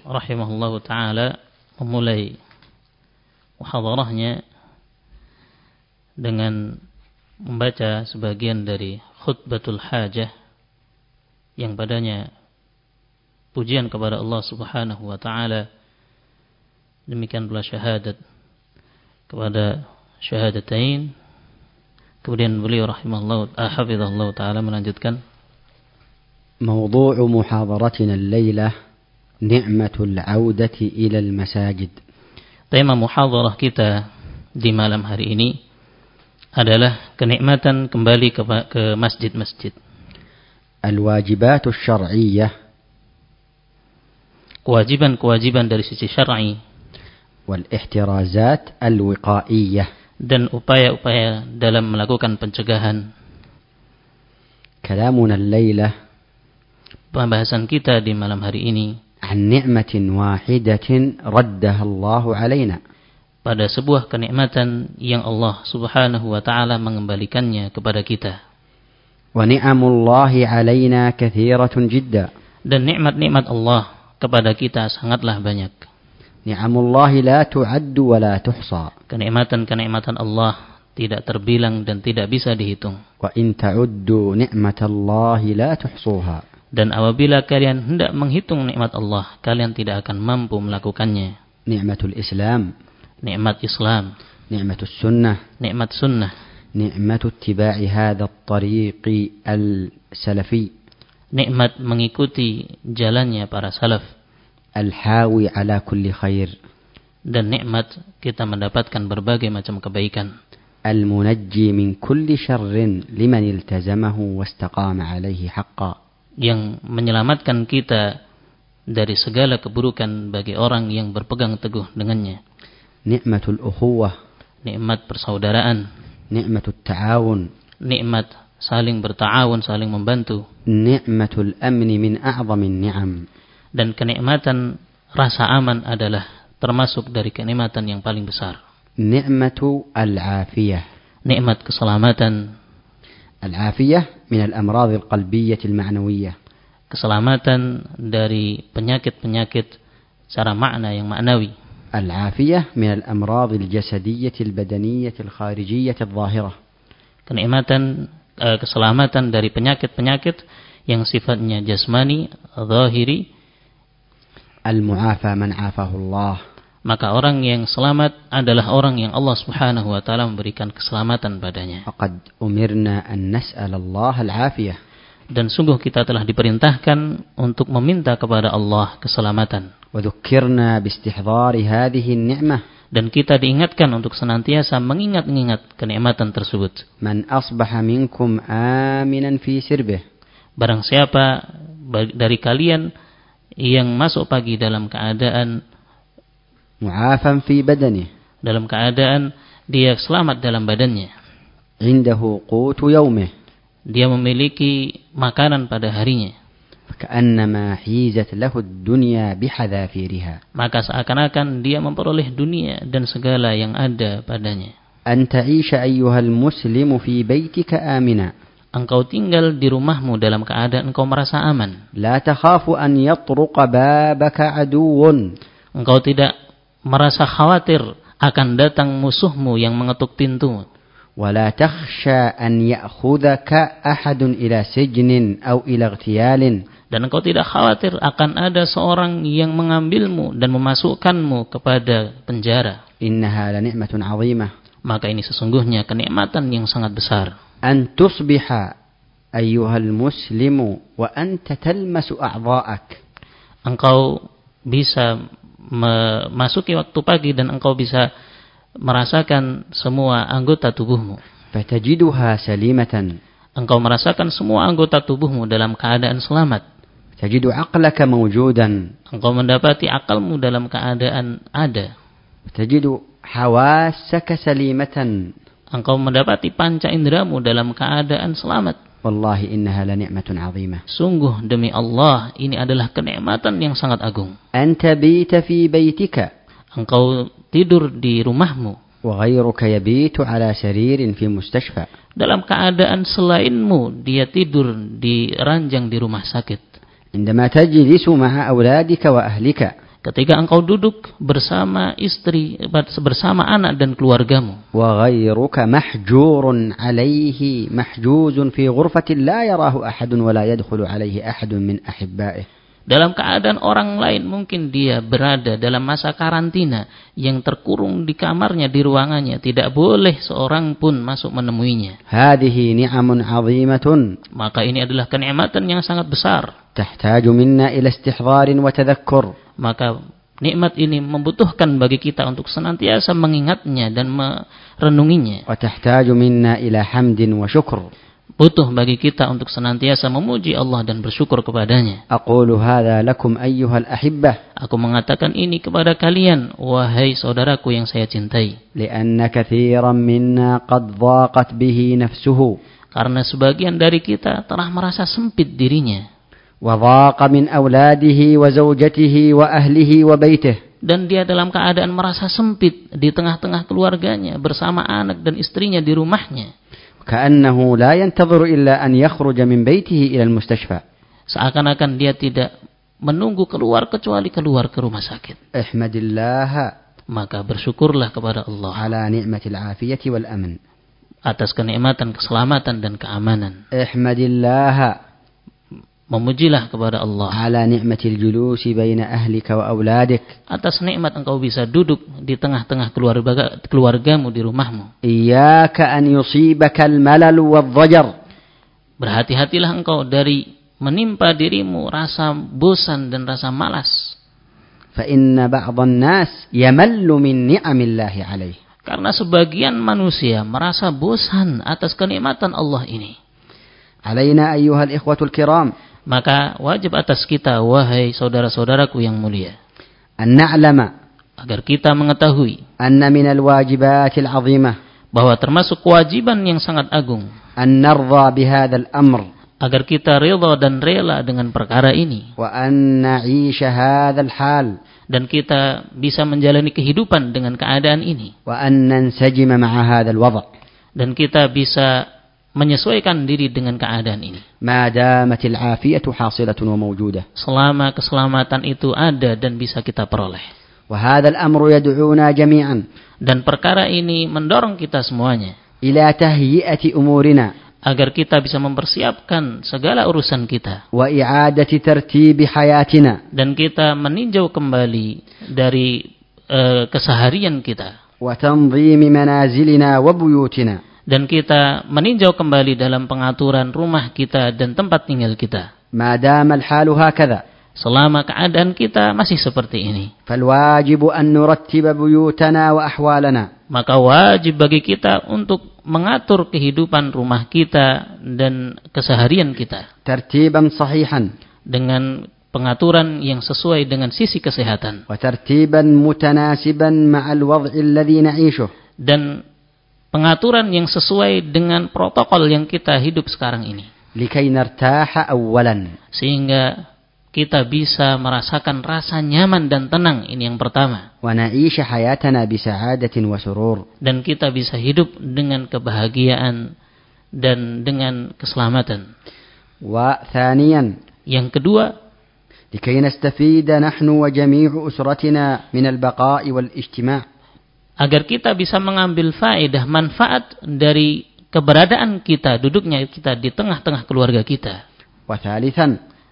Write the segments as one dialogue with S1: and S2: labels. S1: rahimahullahu taala memulai muhadharahnya dengan membaca sebagian dari khutbatul hajah yang padanya pujian kepada Allah Subhanahu wa taala demikian pula syahadat kepada syahadatain kemudian beliau rahimahullahu ah, hafizahullahu taala melanjutkan
S2: موضوع محاضرتنا الليلة نعمة العودة إلى المساجد
S1: Tema muhadharah kita di malam hari ini adalah kenikmatan kembali ke ke masjid-masjid.
S2: الواجبات الشرعية
S1: Kewajiban-kewajiban dari sisi syar'i
S2: والاحترازات الوقائية
S1: dan upaya-upaya dalam melakukan pencegahan.
S2: كلامنا الليلة
S1: Pembahasan kita di malam hari ini
S2: عن نعمة واحدة ردها الله علينا
S1: pada sebuah kenikmatan yang Allah Subhanahu wa taala mengembalikannya kepada kita.
S2: ونعم الله علينا كثيرة جدا
S1: Dan nikmat-nikmat Allah kepada kita sangatlah banyak.
S2: نعم الله لا تعد ولا تحصى
S1: Kenikmatan-kenikmatan Allah tidak terbilang dan tidak bisa dihitung.
S2: وإن تعدوا نعمة الله لا تحصوها
S1: Dan apabila kalian hendak menghitung nikmat Allah, kalian tidak akan mampu melakukannya.
S2: نعمة الإسلام
S1: Nikmat Islam,
S2: نعمة السنة
S1: nikmat sunnah,
S2: نعمة اتباع هذا الطريق السلفي
S1: nikmat mengikuti jalannya para salaf,
S2: الحاوي على كل خير
S1: dan nikmat kita mendapatkan berbagai macam kebaikan.
S2: المنجي من كل شر لمن التزمه واستقام عليه حقا
S1: yang menyelamatkan kita dari segala keburukan bagi orang yang berpegang teguh dengannya.
S2: نعمة الأخوة
S1: Nikmat persaudaraan,
S2: نعمة التعاون
S1: nikmat saling bertawun, saling membantu,
S2: نعمة الأمن من أعظم النعم
S1: dan kenikmatan rasa aman adalah termasuk dari kenikmatan yang paling besar.
S2: نعمة العافية
S1: Nikmat keselamatan,
S2: العافية من الأمراض القلبية المعنوية
S1: keselamatan dari penyakit-penyakit secara makna yang maknawi,
S2: العافية من الأمراض الجسدية البدنية الخارجية الظاهرة
S1: kenikmatan eh, keselamatan dari penyakit-penyakit yang sifatnya jasmani, zahiri,
S2: المعافى من عافاه الله
S1: maka orang yang selamat adalah orang yang Allah Subhanahu wa taala memberikan keselamatan padanya.
S2: فقد أمرنا أن نسأل الله العافية
S1: Dan sungguh kita telah diperintahkan untuk meminta kepada Allah keselamatan
S2: وذكرنا باستحضار هذه النعمة
S1: dan kita diingatkan untuk senantiasa mengingat-ingat kenikmatan tersebut.
S2: من أصبح منكم آمنا في سربه
S1: Barang siapa ba- dari kalian yang masuk pagi dalam keadaan
S2: معافا في بدنه
S1: dalam keadaan dia selamat dalam badannya.
S2: عنده قوت يومه
S1: Dia memiliki makanan pada harinya.
S2: فكأنما حيزت له الدنيا بحذافيرها
S1: maka seakan-akan dia memperoleh dunia dan segala yang ada padanya.
S2: أن تعيش أيها المسلم في بيتك آمنا
S1: Engkau tinggal di rumahmu dalam keadaan engkau merasa aman.
S2: لا تخاف أن يطرق بابك عدو
S1: Engkau tidak merasa khawatir akan datang musuhmu yang mengetuk pintu.
S2: ولا تخشى أن يأخذك أحد إلى سجن أو إلى اغتيال
S1: Dan engkau tidak khawatir akan ada seorang yang mengambilmu dan memasukkanmu kepada penjara.
S2: إنها لنعمة عظيمة
S1: Maka ini sesungguhnya kenikmatan yang sangat besar.
S2: أن تصبح أيها المسلم وأنت تلمس أعضاءك
S1: Engkau bisa memasuki waktu pagi dan engkau bisa merasakan semua anggota tubuhmu.
S2: فتجدها سليمة
S1: Engkau merasakan semua anggota tubuhmu dalam keadaan selamat
S2: تجد عقلك موجودا
S1: Engkau mendapati akalmu dalam keadaan ada.
S2: تجد حواسك سليمة
S1: Engkau mendapati panca indramu dalam keadaan selamat.
S2: والله إنها لنعمة عظيمة
S1: Sungguh demi Allah, ini adalah kenikmatan yang sangat agung.
S2: أن تبيت في بيتك
S1: Engkau tidur di rumahmu
S2: وغيرك يبيت على سرير في مستشفى
S1: dalam keadaan selainmu dia tidur di ranjang di rumah sakit.
S2: عندما تجلس مع أولادك وأهلك
S1: Ketika engkau duduk bersama istri, bersama anak dan keluargamu,
S2: وغيرك محجور عليه محجوز في غرفة لا يراه أحد ولا يدخل عليه أحد من أحبائه
S1: dalam keadaan orang lain mungkin dia berada dalam masa karantina yang terkurung di kamarnya, di ruangannya, tidak boleh seorang pun masuk menemuinya.
S2: هذه نعم عظيمة
S1: Maka ini adalah kenikmatan yang sangat besar.
S2: تحتاج منا إلى استحضار وتذكر
S1: Maka nikmat ini membutuhkan bagi kita untuk senantiasa mengingatnya dan merenunginya.
S2: وتحتاج منا إلى حمد وشكر
S1: Butuh bagi kita untuk senantiasa memuji Allah dan bersyukur kepadanya.
S2: أقول هذا لكم أيها الأحبة
S1: Aku mengatakan ini kepada kalian, wahai saudaraku yang saya cintai.
S2: لأن كثيرا منا قد ضاقت به نفسه
S1: Karena sebagian dari kita telah merasa sempit dirinya.
S2: وضاق من أولاده وزوجته وأهله وبيته
S1: Dan dia dalam keadaan merasa sempit di tengah-tengah keluarganya bersama anak dan istrinya di rumahnya.
S2: كأنه لا ينتظر إلا أن يخرج من بيته إلى المستشفى
S1: Seakan-akan dia tidak menunggu keluar kecuali keluar ke rumah sakit.
S2: احمد الله
S1: Maka bersyukurlah kepada Allah
S2: على نعمة العافية والأمن
S1: atas kenikmatan, keselamatan dan keamanan.
S2: احمد الله
S1: Memujilah kepada Allah
S2: على نعمة الجلوس بين أهلك وأولادك
S1: atas nikmat engkau bisa duduk di tengah-tengah keluarga keluargamu di rumahmu.
S2: إياك أن يصيبك الملل والضجر
S1: Berhati-hatilah engkau dari menimpa dirimu rasa bosan dan rasa malas.
S2: فإن بعض الناس يمل من نعم الله عليه
S1: Karena sebagian manusia merasa bosan atas kenikmatan Allah ini.
S2: علينا أيها الإخوة الكرام
S1: Maka wajib atas kita, wahai saudara-saudaraku yang mulia,
S2: أن نعلم
S1: agar kita mengetahui
S2: أن من الواجبات العظيمة
S1: bahwa termasuk kewajiban yang sangat agung
S2: أن نرضى بهذا الأمر
S1: agar kita rela dan rela dengan perkara ini
S2: وأن نعيش هذا الحال
S1: dan kita bisa menjalani kehidupan dengan keadaan ini
S2: وأن ننسجم مع هذا الوضع
S1: dan kita bisa menyesuaikan diri dengan keadaan ini
S2: ما دامت العافية حاصلة وموجودة
S1: selama keselamatan itu ada dan bisa kita peroleh
S2: وهذا الأمر يدعونا جميعا
S1: dan perkara ini mendorong kita semuanya
S2: إلى تهيئة أمورنا
S1: agar kita bisa mempersiapkan segala urusan kita
S2: وإعادة ترتيب حياتنا
S1: dan kita meninjau kembali dari eh, keseharian kita
S2: وتنظيم منازلنا وبيوتنا
S1: dan kita meninjau kembali dalam pengaturan rumah kita dan tempat tinggal kita
S2: ما دام الحال هكذا
S1: selama keadaan kita masih seperti ini
S2: فالواجب أن نرتب بيوتنا وأحوالنا
S1: maka wajib bagi kita untuk mengatur kehidupan rumah kita dan keseharian kita
S2: ترتيبا صحيحا
S1: dengan pengaturan yang sesuai dengan sisi kesehatan
S2: وترتيبا متناسبا مع الوضع الذي نعيشه
S1: dan pengaturan yang sesuai dengan protokol yang kita hidup sekarang ini
S2: لكي نرتاح أولا
S1: sehingga kita bisa merasakan rasa nyaman dan tenang ini yang pertama
S2: ونعيش حياتنا بسعادة وسرور
S1: dan kita bisa hidup dengan kebahagiaan dan dengan keselamatan
S2: وثانيا
S1: yang kedua
S2: لكي نستفيد نحن وجميع أسرتنا من البقاء والاجتماع
S1: agar kita bisa mengambil faedah manfaat dari keberadaan kita duduknya kita di tengah-tengah keluarga kita
S2: وثالثا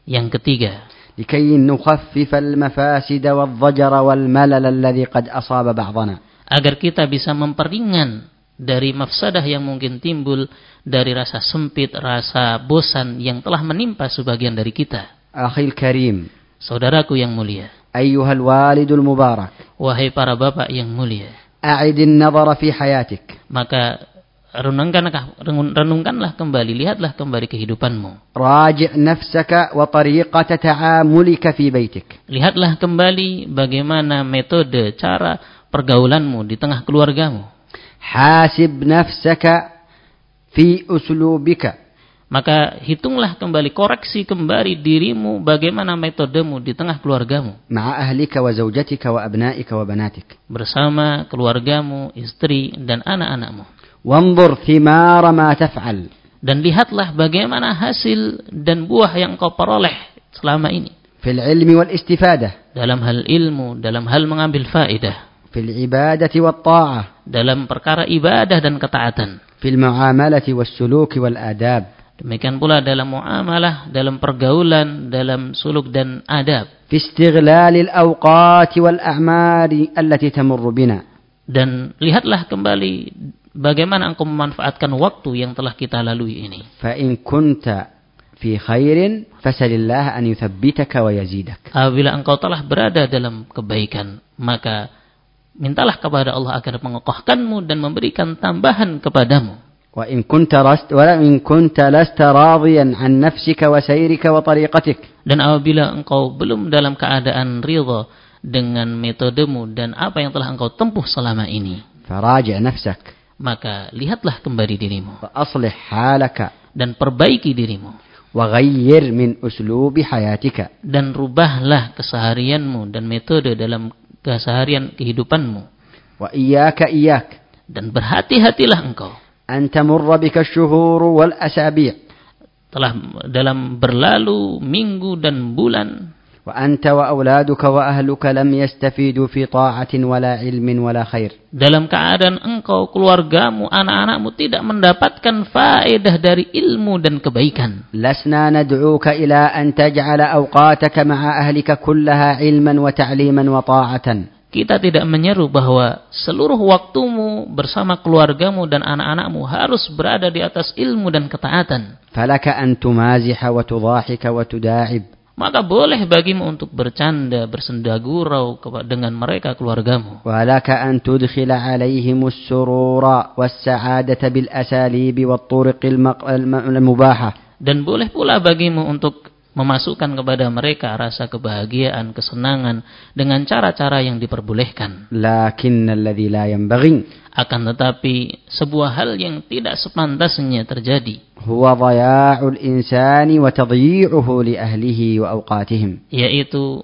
S1: yang ketiga
S2: لكي نخفف المفاسد والضجر والملل الذي قد أصاب بعضنا
S1: agar kita bisa memperingan dari mafsadah yang mungkin timbul dari rasa sempit, rasa bosan yang telah menimpa sebagian dari kita.
S2: أخي الكريم
S1: Saudaraku yang mulia,
S2: أيها الوالد المبارك
S1: wahai para bapak yang mulia,
S2: أعد النظر في حياتك
S1: maka renungkankah renung- renungkanlah kembali, lihatlah kembali kehidupanmu.
S2: راجع نفسك وطريقة تعاملك في بيتك
S1: Lihatlah kembali bagaimana metode, cara pergaulanmu di tengah keluargamu.
S2: حاسب نفسك في أسلوبك
S1: Maka hitunglah kembali, koreksi kembali dirimu bagaimana metodemu di tengah keluargamu.
S2: مع أهلك وزوجتك وأبنائك وبناتك
S1: Bersama keluargamu, istri, dan anak-anakmu.
S2: وانظر ثمار ما تفعل
S1: Dan lihatlah bagaimana hasil dan buah yang kau peroleh selama ini.
S2: في العلم والاستفادة
S1: Dalam hal ilmu, dalam hal mengambil faedah.
S2: في العبادة والطاعة
S1: Dalam perkara ibadah dan ketaatan.
S2: في المعاملة والسلوك والآداب
S1: Demikian pula dalam muamalah, dalam pergaulan, dalam suluk dan adab.
S2: في استغلال الأوقات والأعمار التي تمر بنا
S1: Dan lihatlah kembali bagaimana engkau memanfaatkan waktu yang telah kita lalui ini.
S2: فإن كنت في خير فسل الله أن يثبتك ويزيدك
S1: Apabila engkau telah berada dalam kebaikan, maka mintalah kepada Allah agar mengokohkanmu dan memberikan tambahan kepadamu.
S2: وإن كنت رست وإن كنت لست راضيا عن نفسك وسيرك وطريقتك
S1: Dan apabila engkau belum dalam keadaan ridha dengan metodemu dan apa yang telah engkau tempuh selama ini,
S2: فراجع نفسك
S1: maka lihatlah kembali dirimu
S2: وأصلح حالك
S1: dan perbaiki dirimu
S2: وغير من أسلوب حياتك
S1: dan rubahlah keseharianmu dan metode dalam keseharian kehidupanmu
S2: وإياك إياك
S1: dan berhati-hatilah engkau
S2: أن تمر بك الشهور والأسابيع
S1: telah dalam berlalu minggu dan bulan
S2: وأنت وأولادك وأهلك لم يستفيدوا في طاعة ولا علم ولا خير
S1: dalam keadaan engkau keluargamu anak-anakmu tidak mendapatkan faedah dari ilmu dan kebaikan
S2: لسنا ندعوك إلى أن تجعل أوقاتك مع أهلك كلها علما وتعليما وطاعة
S1: kita tidak menyeru bahwa seluruh waktumu bersama keluargamu dan anak-anakmu harus berada di atas ilmu dan ketaatan
S2: فلك أن تمازح وتضاحك وتداعب
S1: Maka boleh bagimu untuk bercanda, bersenda gurau kepa- dengan mereka keluargamu.
S2: ولك أن تدخل عليهم السرور والسعادة بالأساليب والطرق المق- الم- المباحة
S1: Dan boleh pula bagimu untuk memasukkan kepada mereka rasa kebahagiaan, kesenangan dengan cara-cara yang diperbolehkan.
S2: لكن الذي لا ينبغي
S1: Akan tetapi sebuah hal yang tidak sepantasnya terjadi,
S2: هو ضياع الإنسان وتضييعه لأهله وأوقاتهم
S1: yaitu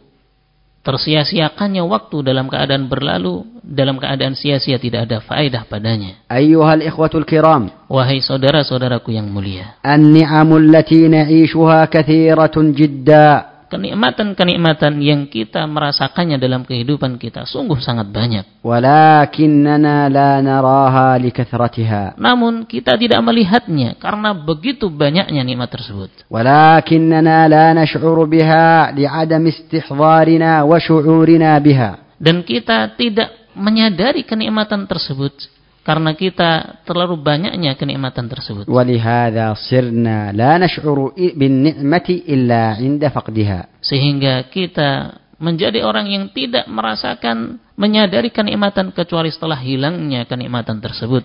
S1: tersia-siakannya waktu dalam keadaan berlalu, dalam keadaan sia-sia tidak ada faedah padanya.
S2: أيها الإخوة الكرام
S1: Wahai saudara-saudaraku yang mulia,
S2: النعم التي نعيشها كثيرة جدا
S1: kenikmatan-kenikmatan yang kita merasakannya dalam kehidupan kita sungguh sangat banyak.
S2: ولكننا لا نراها لكثرتها
S1: Namun kita tidak melihatnya karena begitu banyaknya nikmat tersebut.
S2: ولكننا لا نشعر بها لعدم استحضارنا وشعورنا بها
S1: Dan kita tidak menyadari kenikmatan tersebut karena kita terlalu banyaknya kenikmatan tersebut.
S2: ولهذا صرنا لا نشعر بالنعمة إلا عند فقدها
S1: Sehingga kita menjadi orang yang tidak merasakan menyadari kenikmatan kecuali setelah hilangnya kenikmatan tersebut.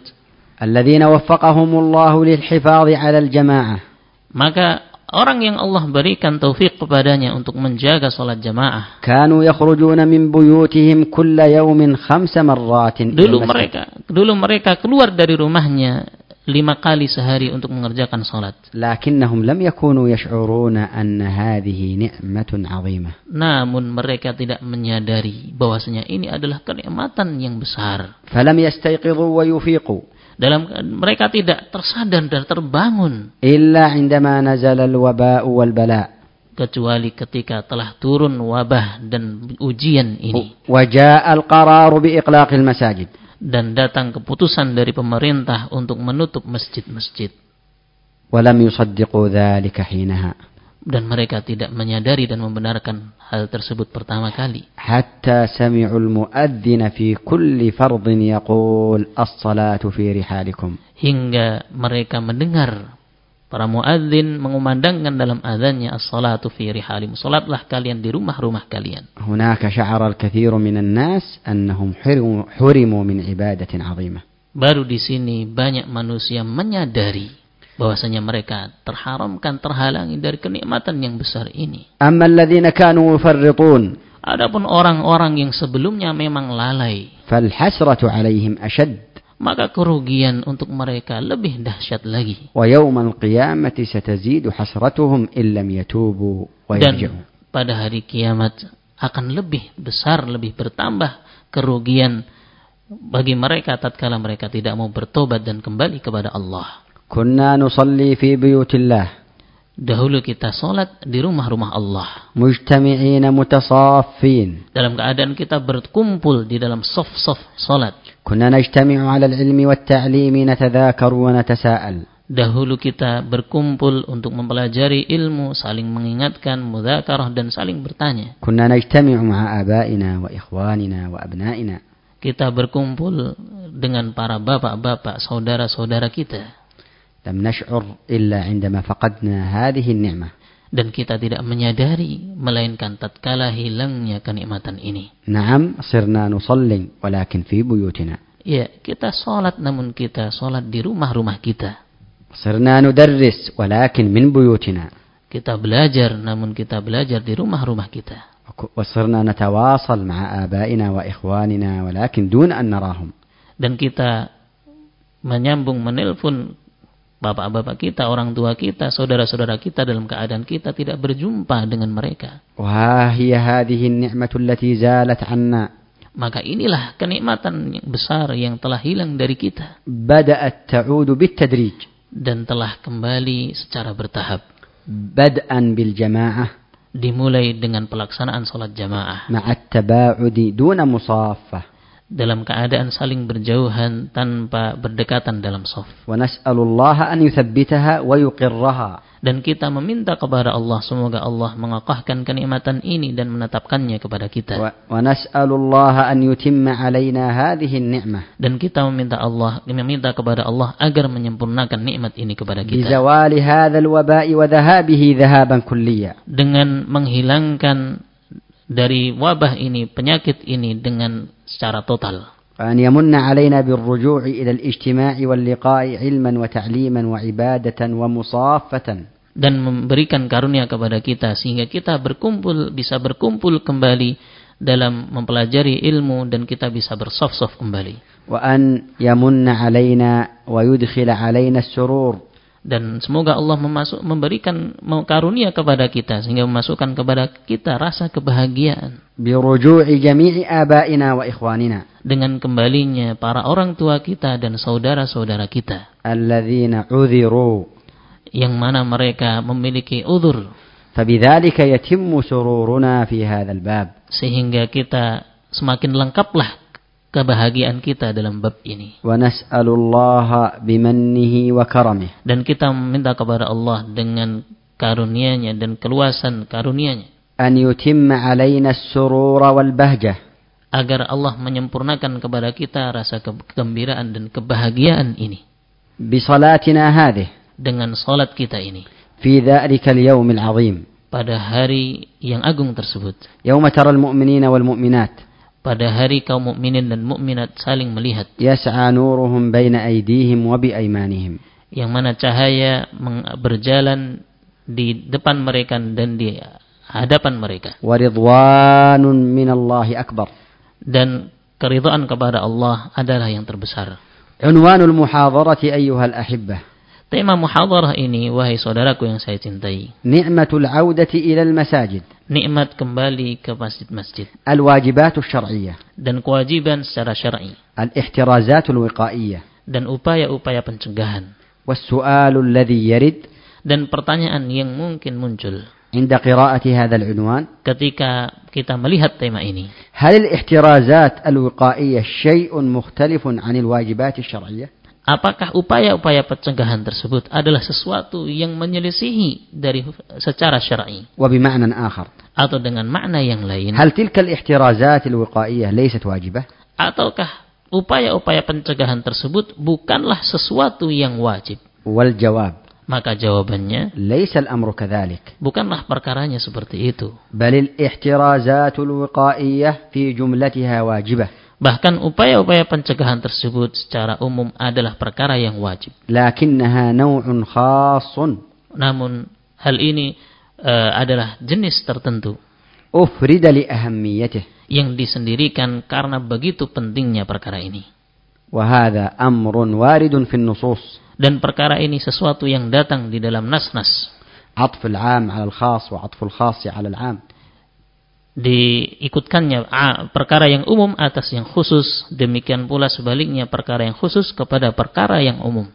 S2: الذين وفقهم الله للحفاظ على الجماعة
S1: Maka orang yang Allah berikan taufik kepadanya untuk menjaga sholat jamaah
S2: كانوا يخرجون من بيوتهم كل يوم خمس مرات إلى
S1: Dulu
S2: المسجد.
S1: mereka, dulu mereka keluar dari rumahnya lima kali sehari untuk mengerjakan sholat.
S2: لكنهم لم يكونوا يشعرون أن هذه نعمة عظيمة
S1: Namun mereka tidak menyadari bahwasanya ini adalah kenikmatan yang besar.
S2: فلم يستيقظوا ويفيقوا
S1: Dalam mereka tidak tersadar dan terbangun
S2: إلا عندما نزل الوباء والبلاء
S1: kecuali ketika telah turun wabah dan ujian ini
S2: وجاء القرار بإغلاق المساجد
S1: dan datang keputusan dari pemerintah untuk menutup masjid-masjid
S2: ولم يصدقوا ذلك حينها
S1: dan mereka tidak menyadari dan membenarkan hal tersebut pertama kali.
S2: حتى سمعوا المؤذن في كل فرض يقول الصلاة في رحالكم
S1: hingga mereka mendengar para muadzin mengumandangkan dalam azannya as-salatu fi rihalim salatlah kalian di rumah-rumah kalian
S2: هناك شعر الكثير من الناس أنهم حرموا- حرموا من عبادة عظيمة
S1: Baru di sini banyak manusia menyadari bahwasanya mereka terharamkan, terhalangi dari kenikmatan yang besar ini.
S2: أما الذين كانوا يفرطون
S1: Adapun orang-orang yang sebelumnya memang lalai,
S2: فالحسرة عليهم أشد
S1: maka kerugian untuk mereka lebih dahsyat lagi.
S2: ويوم القيامة ستزيد حسرتهم إن لم يتوبوا ويرجعوا
S1: Dan pada hari kiamat akan lebih besar, lebih bertambah kerugian bagi mereka tatkala mereka tidak mau bertobat dan kembali kepada Allah.
S2: كنا نصلي في بيوت الله
S1: Dahulu kita sholat di rumah-rumah Allah.
S2: مجتمعين متصافين
S1: Dalam keadaan kita berkumpul di dalam sof-sof sholat.
S2: كنا نجتمع على العلم والتعليم نتذاكر ونتساءل
S1: Dahulu kita berkumpul untuk mempelajari ilmu, saling mengingatkan, mudzakarah dan saling bertanya.
S2: كنا نجتمع مع آبائنا وإخواننا وأبنائنا
S1: Kita berkumpul dengan para bapak-bapak, saudara-saudara kita.
S2: لم نشعر إلا عندما فقدنا هذه النعمة
S1: Dan kita tidak menyadari, melainkan tatkala hilangnya kenikmatan ini.
S2: نعم صرنا نصلي ولكن في بيوتنا
S1: Ya, kita sholat namun kita sholat di rumah-rumah kita.
S2: صرنا ندرس ولكن من بيوتنا
S1: Kita belajar namun kita belajar di rumah-rumah kita.
S2: وك- وصرنا نتواصل مع آبائنا وإخواننا ولكن دون أن نراهم
S1: dan kita menyambung menelpon bapak-bapak kita, orang tua kita, saudara-saudara kita dalam keadaan kita tidak berjumpa dengan mereka.
S2: وها هي هذه النعمة التي زالت عنا
S1: Maka inilah kenikmatan yang besar yang telah hilang dari kita
S2: بدأت تعود بالتدريج
S1: dan telah kembali secara bertahap.
S2: بدءا بالجماعة
S1: Dimulai dengan pelaksanaan sholat jamaah
S2: مع التباعد دون مصافة
S1: dalam keadaan saling berjauhan tanpa berdekatan dalam sof.
S2: ونسأل الله أن يثبتها ويقرها
S1: Dan kita meminta kepada Allah semoga Allah mengokohkan kenikmatan ini dan menetapkannya kepada kita.
S2: و- ونسأل الله أن يتم علينا هذه النعمة
S1: dan kita meminta Allah meminta kepada Allah agar menyempurnakan nikmat ini kepada kita
S2: بزوال هذا الوباء وذهابه ذهابا كليا
S1: dengan menghilangkan dari wabah ini penyakit ini dengan secara total
S2: وأن يمن علينا بالرجوع إلى الاجتماع واللقاء علما وتعليما وعبادة ومصافة
S1: dan memberikan karunia kepada kita sehingga kita berkumpul bisa berkumpul kembali dalam mempelajari ilmu dan kita bisa bersof-sof kembali
S2: وأن يمن علينا ويدخل علينا السرور
S1: dan semoga Allah memasuk memberikan karunia kepada kita sehingga memasukkan kepada kita rasa kebahagiaan
S2: برجوع جميع آبائنا وإخواننا
S1: dengan kembalinya para orang tua kita dan saudara-saudara kita
S2: الذين عذروا
S1: yang mana mereka memiliki udur
S2: فبذلك يتم سرورنا في هذا الباب
S1: sehingga kita semakin lengkaplah kebahagiaan kita dalam bab ini
S2: ونسأل الله بمنه وكرمه
S1: dan kita meminta kepada Allah dengan karunia-Nya dan keluasan karunia-Nya
S2: أن يتم علينا السرور والبهجة
S1: agar Allah menyempurnakan kepada kita rasa kegembiraan dan kebahagiaan ini
S2: بصلاتنا هذه
S1: dengan salat kita ini
S2: في ذلك اليوم العظيم
S1: pada hari yang agung tersebut
S2: يوم ترى المؤمنين والمؤمنات
S1: pada hari kaum mukminin dan mukminat saling melihat
S2: يسعى نورهم بين أيديهم وبأيمانهم
S1: yang mana cahaya meng- berjalan di depan mereka dan di hadapan mereka
S2: ورضوان من الله أكبر
S1: dan keridhaan kepada Allah adalah yang terbesar.
S2: عنوان المحاضرة أيها الأحبة
S1: Tema muhadharah ini wahai saudaraku yang saya cintai,
S2: نعمة العودة إلى المساجد
S1: nikmat kembali ke masjid-masjid
S2: الواجبات الشرعية
S1: dan kewajiban secara syar'i
S2: الاحترازات الوقائية
S1: dan upaya-upaya pencegahan
S2: والسؤال الذي يرد
S1: dan pertanyaan yang mungkin muncul
S2: عند قراءة هذا العنوان
S1: ketika kita melihat tema ini.
S2: هل الاحترازات الوقائية شيء مختلف عن الواجبات الشرعية؟
S1: Apakah upaya-upaya pencegahan tersebut adalah sesuatu yang menyelisihi dari secara syar'i
S2: وبمعنى آخر
S1: atau dengan makna yang lain?
S2: هل تلك الاحترازات الوقائية ليست واجبة؟
S1: Ataukah upaya-upaya pencegahan tersebut bukanlah sesuatu yang wajib?
S2: والجواب
S1: Maka jawabannya
S2: ليس الأمر كذلك
S1: bukanlah perkaranya seperti itu,
S2: بل الاحترازات الوقائية في جملتها واجبة
S1: Bahkan upaya-upaya pencegahan tersebut secara umum adalah perkara yang wajib.
S2: لكنها نوع خاص
S1: Namun hal ini eh, adalah jenis tertentu
S2: أفرد لأهميته
S1: yang disendirikan karena begitu pentingnya perkara ini.
S2: وهذا أمر وارد في النصوص
S1: Dan perkara ini sesuatu yang datang di dalam nas-nas.
S2: عطف العام على الخاص وعطف الخاص على العام
S1: Diikutkannya ah, perkara yang umum atas yang khusus. Demikian pula sebaliknya perkara yang khusus kepada perkara yang umum.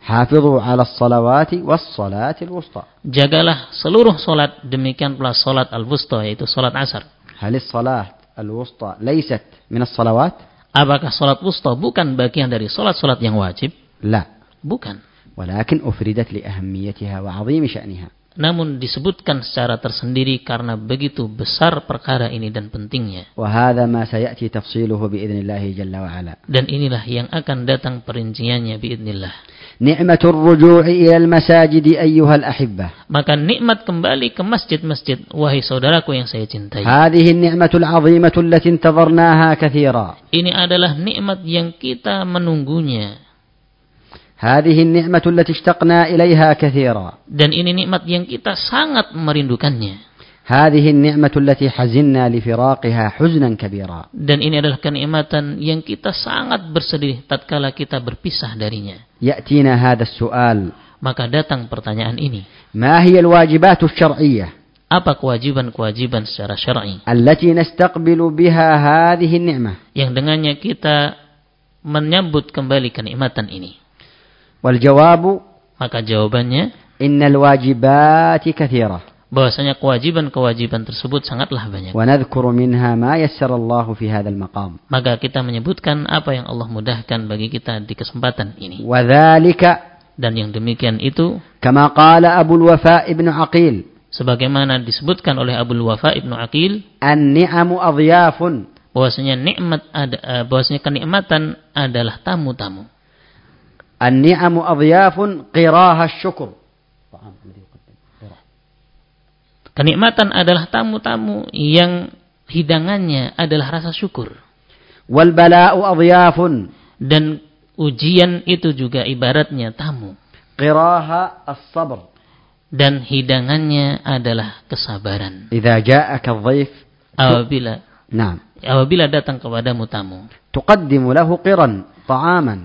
S2: حافظوا على الصلوات والصلاة الوسطى
S1: Jagalah seluruh solat. Demikian pula solat al-wusta yaitu solat asar.
S2: هل الصلاة الوسطى ليست من الصلوات؟
S1: Apakah solat wusta bukan bagian dari solat-solat yang wajib?
S2: لا
S1: Bukan.
S2: ولكن أفردت لأهميتها وعظيم شأنها
S1: Namun disebutkan secara tersendiri karena begitu besar perkara ini dan pentingnya.
S2: وهذا ما سيأتي تفصيله بإذن الله جل وعلا
S1: Dan inilah yang akan datang perinciannya biidnillah.
S2: نعمة الرجوع إلى المساجد أيها الأحبة
S1: Maka nikmat kembali ke masjid-masjid, wahai saudaraku yang saya cintai.
S2: هذه النعمة العظيمة التي انتظرناها كثيرا
S1: Ini adalah nikmat yang kita menunggunya.
S2: هذه النعمة التي اشتقنا إليها كثيرا
S1: Dan ini nikmat yang kita sangat merindukannya.
S2: هذه النعمة التي حزنا لفراقها حزنا كبيرا
S1: Dan ini adalah kenikmatan yang kita sangat bersedih tatkala kita berpisah darinya.
S2: يأتينا هذا السؤال
S1: Maka datang pertanyaan ini.
S2: ما هي الواجبات الشرعية
S1: Apa kewajiban-kewajiban secara syar'i?
S2: التي نستقبل بها هذه النعمة
S1: yang dengannya kita menyambut kembali kenikmatan ini.
S2: والجواب
S1: Maka jawabannya
S2: إن الواجبات كثيرة
S1: bahwasanya kewajiban-kewajiban tersebut sangatlah banyak.
S2: ونذكر منها ما يسر الله في هذا المقام
S1: Maka kita menyebutkan apa yang Allah mudahkan bagi kita di kesempatan ini.
S2: وذلك
S1: Dan yang demikian itu
S2: كما قال أبو الوفاء بن عقيل
S1: sebagaimana disebutkan oleh Abu Wafa Ibnu Aqil
S2: النعم أضياف
S1: bahwasanya nikmat ada eh, bahwasanya kenikmatan adalah tamu-tamu.
S2: النعم أضياف قراها الشكر
S1: Kenikmatan adalah tamu-tamu yang hidangannya adalah rasa syukur.
S2: والبلاء أضياف
S1: dan ujian itu juga ibaratnya tamu
S2: قراها الصبر
S1: dan hidangannya adalah kesabaran
S2: إذا جاءك الضيف
S1: apabila
S2: نعم
S1: apabila datang kepadamu tamu
S2: تقدم له قرا طعاما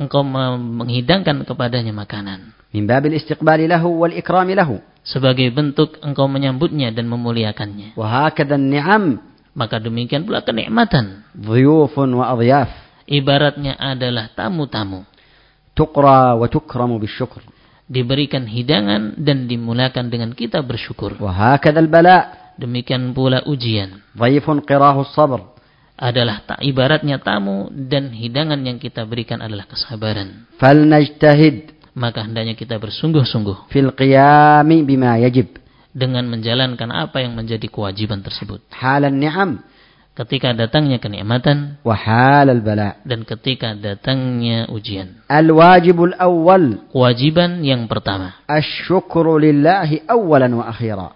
S1: engkau mem- menghidangkan kepadanya makanan
S2: من باب الاستقبال له والإكرام له
S1: sebagai bentuk engkau menyambutnya dan memuliakannya
S2: وهكذا النعم
S1: maka demikian pula kenikmatan
S2: ضيوف وأضياف
S1: ibaratnya adalah tamu-tamu
S2: تقرى وتكرم بالشكر
S1: diberikan hidangan dan dimulakan dengan kita bersyukur
S2: وهكذا البلاء
S1: demikian pula ujian
S2: ضيف قراه الصبر
S1: adalah ta- ibaratnya tamu dan hidangan yang kita berikan adalah kesabaran.
S2: فلنجتهد
S1: Maka hendaknya kita bersungguh-sungguh
S2: في القيام بما يجب
S1: dengan menjalankan apa yang menjadi kewajiban tersebut.
S2: حال النعم
S1: Ketika datangnya kenikmatan
S2: وحال البلاء
S1: dan ketika datangnya ujian.
S2: الواجب الأول
S1: Kewajiban yang pertama,
S2: الشكر لله أولا وأخيرا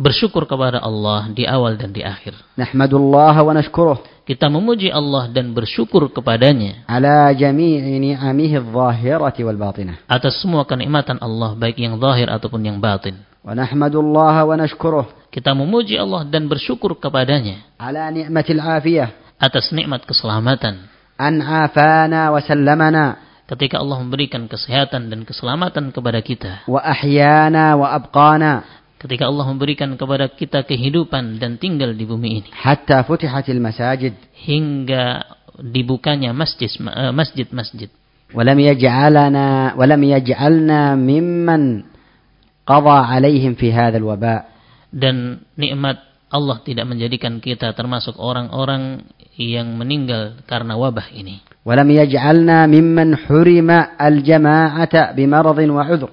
S1: bersyukur kepada Allah di awal dan di akhir.
S2: نحمد الله ونشكره
S1: Kita memuji Allah dan bersyukur kepadanya
S2: على جميع نعمه الظاهرة والباطنة
S1: atas semua kenikmatan Allah baik yang zahir ataupun yang batin.
S2: ونحمد الله ونشكره
S1: Kita memuji Allah dan bersyukur kepadanya
S2: على نعمة العافية
S1: atas nikmat keselamatan
S2: أن عافانا وسلمنا
S1: ketika Allah memberikan kesehatan dan keselamatan kepada kita,
S2: وأحيانا وأبقانا
S1: ketika Allah memberikan kepada kita kehidupan dan tinggal di bumi ini,
S2: حتى فتحت المساجد
S1: hingga dibukanya masjid eh, masjid-masjid,
S2: ولم يجعلنا ولم يجعلنا ممن قضى عليهم في هذا الوباء
S1: dan nikmat Allah tidak menjadikan kita termasuk orang-orang yang meninggal karena wabah ini,
S2: ولم يجعلنا ممن حرم الجماعة بمرض وعذر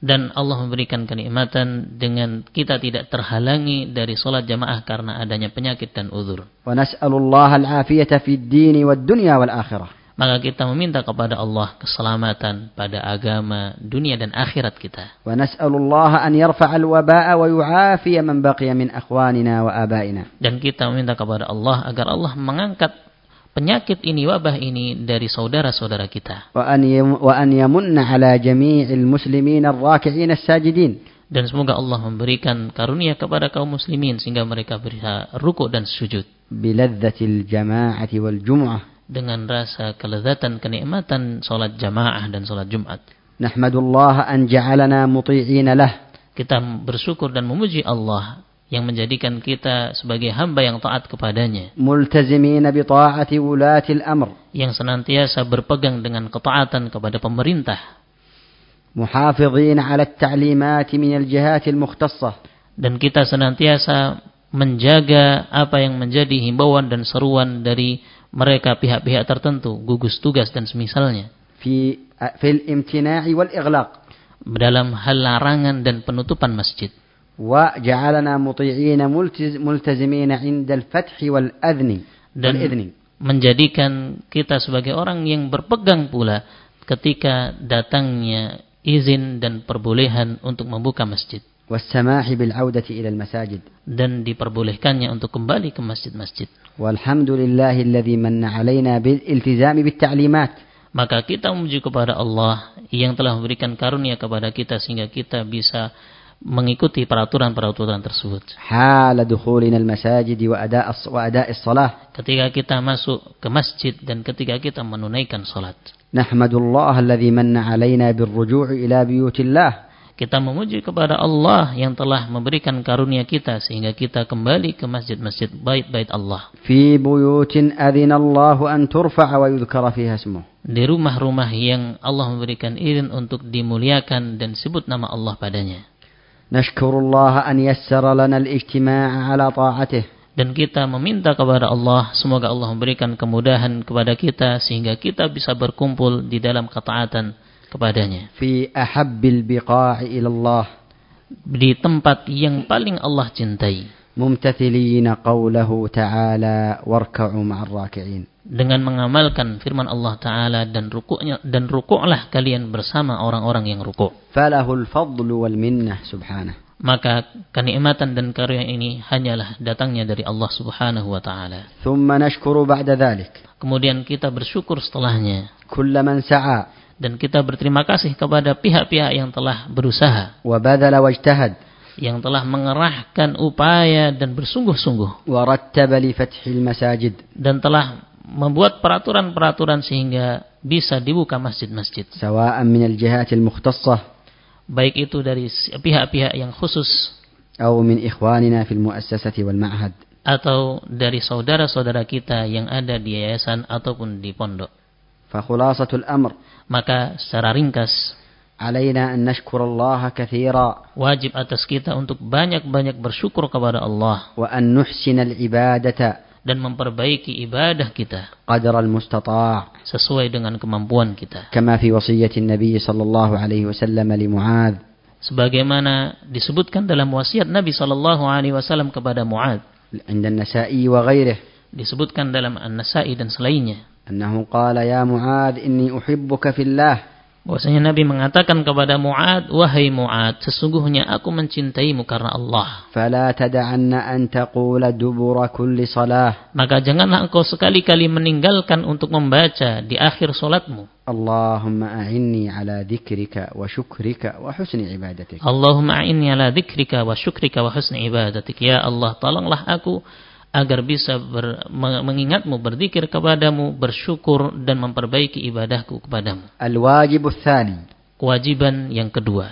S1: dan Allah memberikan kenikmatan dengan kita tidak terhalangi dari sholat jamaah karena adanya penyakit dan uzur.
S2: ونسأل الله العافية في الدين والدنيا والآخرة
S1: Maka kita meminta kepada Allah keselamatan pada agama, dunia dan akhirat kita.
S2: ونسأل الله أن يرفع الوباء ويعافي من بقي من أخواننا وآبائنا
S1: Dan kita meminta kepada Allah agar Allah mengangkat penyakit ini, wabah ini dari saudara-saudara kita.
S2: وأن يم- وأن يمن على جميع المسلمين الراكعين الساجدين
S1: Dan semoga Allah memberikan karunia kepada kaum muslimin sehingga mereka bisa rukuk dan sujud
S2: بلذة الجماعة والجمعة
S1: dengan rasa kelezatan kenikmatan salat jamaah dan salat Jumat.
S2: نحمد الله أن جعلنا مطيعين له
S1: Kita bersyukur dan memuji Allah yang menjadikan kita sebagai hamba yang taat kepadanya,
S2: ملتزمين بطاعة ولاة الأمر
S1: yang senantiasa berpegang dengan ketaatan kepada pemerintah
S2: محافظين على التعليمات من الجهات المختصة
S1: dan kita senantiasa menjaga apa yang menjadi himbauan dan seruan dari mereka pihak-pihak tertentu, gugus tugas dan semisalnya
S2: في في الامتناع والإغلاق
S1: dalam hal larangan dan penutupan masjid
S2: وجعلنا مطيعين ملتز- ملتزمين عند الفتح والأذن
S1: dan
S2: والإذن
S1: menjadikan kita sebagai orang yang berpegang pula ketika datangnya izin dan perbolehan untuk membuka masjid
S2: والسماح بالعودة إلى المساجد
S1: dan diperbolehkannya untuk kembali ke masjid-masjid
S2: والحمد لله الذي من علينا بالالتزام بالتعليمات
S1: maka kita memuji kepada Allah yang telah memberikan karunia kepada kita sehingga kita bisa mengikuti peraturan-peraturan tersebut.
S2: حال دخولنا المساجد وأداء الص- وأداء الصلاة
S1: Ketika kita masuk ke masjid dan ketika kita menunaikan salat,
S2: نحمد الله الذي من علينا بالرجوع إلى بيوت الله
S1: kita memuji kepada Allah yang telah memberikan karunia kita sehingga kita kembali ke masjid-masjid bait-bait Allah.
S2: في بيوت أذن الله أن ترفع ويذكر فيها اسمه
S1: Di rumah-rumah yang Allah memberikan izin untuk dimuliakan dan sebut nama Allah padanya.
S2: نشكر الله أن يسر لنا الاجتماع على طاعته
S1: Dan kita meminta kepada Allah, semoga Allah memberikan kemudahan kepada kita sehingga kita bisa berkumpul di dalam ketaatan kepadanya.
S2: في أحب البقاع إلى الله
S1: Di tempat yang paling Allah cintai.
S2: ممتثلين قوله تعالى واركعوا مع الراكعين
S1: Dengan mengamalkan firman Allah Ta'ala dan rukuknya dan rukuklah kalian bersama orang-orang yang rukuk.
S2: فله الفضل والمنة سبحانه
S1: Maka kenikmatan dan karunia ini hanyalah datangnya dari Allah Subhanahu wa taala.
S2: ثم نشكر بعد ذلك
S1: Kemudian kita bersyukur setelahnya
S2: كل من سعى
S1: dan kita berterima kasih kepada pihak-pihak yang telah berusaha
S2: وبذل واجتهد
S1: yang telah mengerahkan upaya dan bersungguh-sungguh
S2: ورتب لفتح المساجد
S1: dan telah membuat peraturan-peraturan sehingga bisa dibuka masjid-masjid
S2: سواء من الجهات المختصة
S1: baik itu dari s- pihak-pihak yang khusus
S2: أو من إخواننا في المؤسسة والمعهد
S1: atau dari saudara-saudara kita yang ada di yayasan ataupun di pondok
S2: فخلاصة الأمر
S1: maka secara ringkas
S2: علينا أن نشكر الله كثيرا
S1: wajib atas kita untuk banyak-banyak bersyukur kepada Allah
S2: وأن نحسن العبادة
S1: dan memperbaiki ibadah kita
S2: قدر المستطاع
S1: sesuai dengan kemampuan kita
S2: كما في وصية النبي صلى الله عليه وسلم لمعاذ
S1: sebagaimana disebutkan dalam wasiat Nabi Shallallahu alaihi wasallam kepada Muad
S2: عند النسائي وغيره
S1: disebutkan dalam An-Nasa'i dan selainnya
S2: أنه قال يا معاذ إني أحبك في الله
S1: bahwasanya Nabi mengatakan kepada Muad wahai Muad sesungguhnya aku mencintaimu karena Allah
S2: فلا تدعن أن تقول دبر كل صلاة
S1: maka janganlah engkau sekali-kali meninggalkan untuk membaca di akhir solatmu
S2: اللهم أعني على ذكرك وشكرك وحسن عبادتك
S1: Allahumma a'inni ala dzikrika wa syukrika wa husni ibadatik. Ya Allah, tolonglah aku agar bisa ber- meng- mengingatmu, berzikir kepadamu, bersyukur dan memperbaiki ibadahku kepadamu.
S2: الواجب الثاني
S1: Kewajiban yang kedua,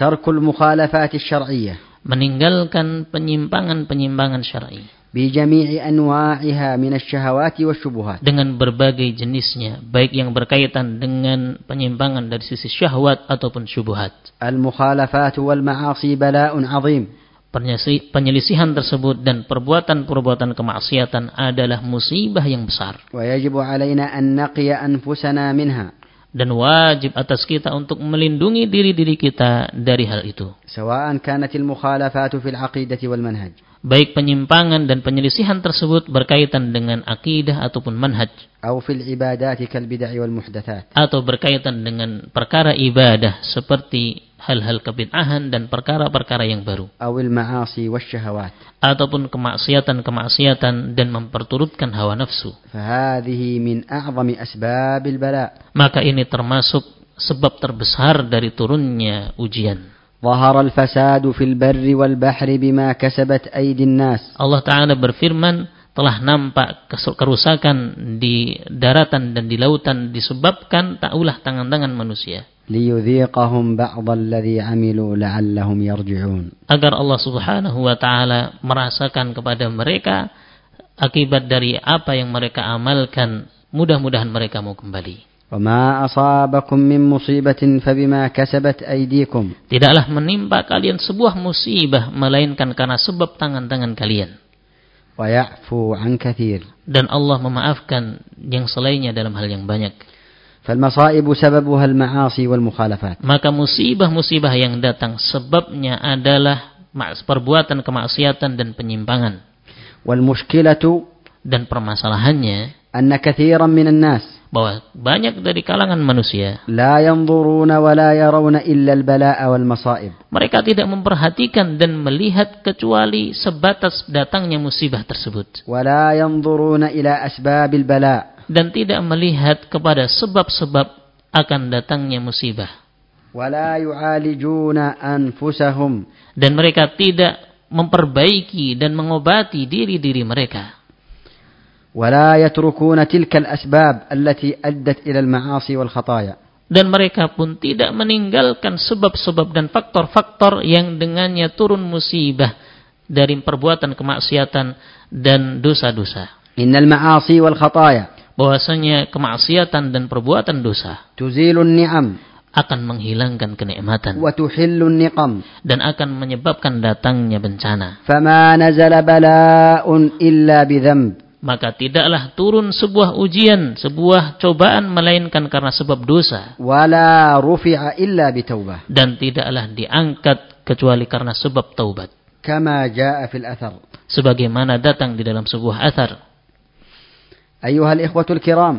S2: ترك المخالفات الشرعية
S1: meninggalkan penyimpangan-penyimpangan syar'i
S2: بجميع أنواعها من الشهوات والشبهات
S1: dengan berbagai jenisnya, baik yang berkaitan dengan penyimpangan dari sisi syahwat ataupun syubhat.
S2: المخالفات والمعاصي بلاء عظيم
S1: Penyesi- Penyelisihan tersebut dan perbuatan-perbuatan kemaksiatan adalah musibah yang besar.
S2: ويجب علينا أن نقي أنفسنا منها
S1: dan wajib atas kita untuk melindungi diri-diri kita dari hal itu
S2: سواء كانت المخالفات في العقيدة والمنهج
S1: baik penyimpangan dan penyelisihan tersebut berkaitan dengan akidah ataupun manhaj
S2: أو في العبادات كالبدع والمحدثات
S1: atau berkaitan dengan perkara ibadah seperti hal-hal kebid'ahan dan perkara-perkara yang baru
S2: أو المعاصي والشهوات
S1: ataupun kemaksiatan-kemaksiatan dan memperturutkan hawa nafsu
S2: فهذه من أعظم أسباب البلاء
S1: maka ini termasuk sebab terbesar dari turunnya ujian
S2: ظهر الفساد في البر والبحر بما كسبت أيدي الناس
S1: Allah Ta'ala berfirman telah nampak kesu- kerusakan di daratan dan di lautan disebabkan tak ulah tangan-tangan manusia.
S2: ليذيقهم بعض الذي عملوا لعلهم يرجعون
S1: Agar Allah Subhanahu wa Ta'ala merasakan kepada mereka akibat dari apa yang mereka amalkan, mudah-mudahan mereka mau kembali.
S2: وما أصابكم من مصيبة فبما كسبت أيديكم
S1: Tidaklah menimpa kalian sebuah musibah, melainkan karena sebab tangan-tangan kalian.
S2: ويعفو عن كثير
S1: Dan Allah memaafkan yang selainnya dalam hal yang banyak.
S2: فالمصائب سببها المعاصي والمخالفات
S1: Maka musibah-musibah yang datang sebabnya adalah maks- perbuatan kemaksiatan dan penyimpangan.
S2: والمشكلة
S1: Dan permasalahannya
S2: أن كثيرا من الناس
S1: bahwa banyak dari kalangan manusia
S2: لا ينظرون ولا يرون إلا البلاء والمصائب
S1: mereka tidak memperhatikan dan melihat kecuali sebatas datangnya musibah tersebut
S2: ولا ينظرون إلى أسباب البلاء
S1: dan tidak melihat kepada sebab-sebab akan datangnya musibah
S2: ولا يعالجون أنفسهم
S1: dan mereka tidak memperbaiki dan mengobati diri-diri mereka
S2: ولا يتركون تلك الأسباب التي أدت إلى المعاصي والخطايا
S1: dan mereka pun tidak meninggalkan sebab-sebab dan faktor-faktor yang dengannya turun musibah dari perbuatan kemaksiatan dan dosa-dosa.
S2: إن المعاصي والخطايا
S1: Bahwasanya kemaksiatan dan perbuatan dosa
S2: تزيل النعم
S1: akan menghilangkan kenikmatan
S2: وتحل النقم
S1: dan akan menyebabkan datangnya bencana.
S2: فما نزل بلاء إلا بذنب
S1: Maka tidaklah turun sebuah ujian, sebuah cobaan melainkan karena sebab dosa
S2: ولا رفع إلا بتوبة
S1: dan tidaklah diangkat kecuali karena sebab taubat.
S2: كما جاء في الأثر
S1: Sebagaimana datang di dalam sebuah athar
S2: أيها الإخوة الكرام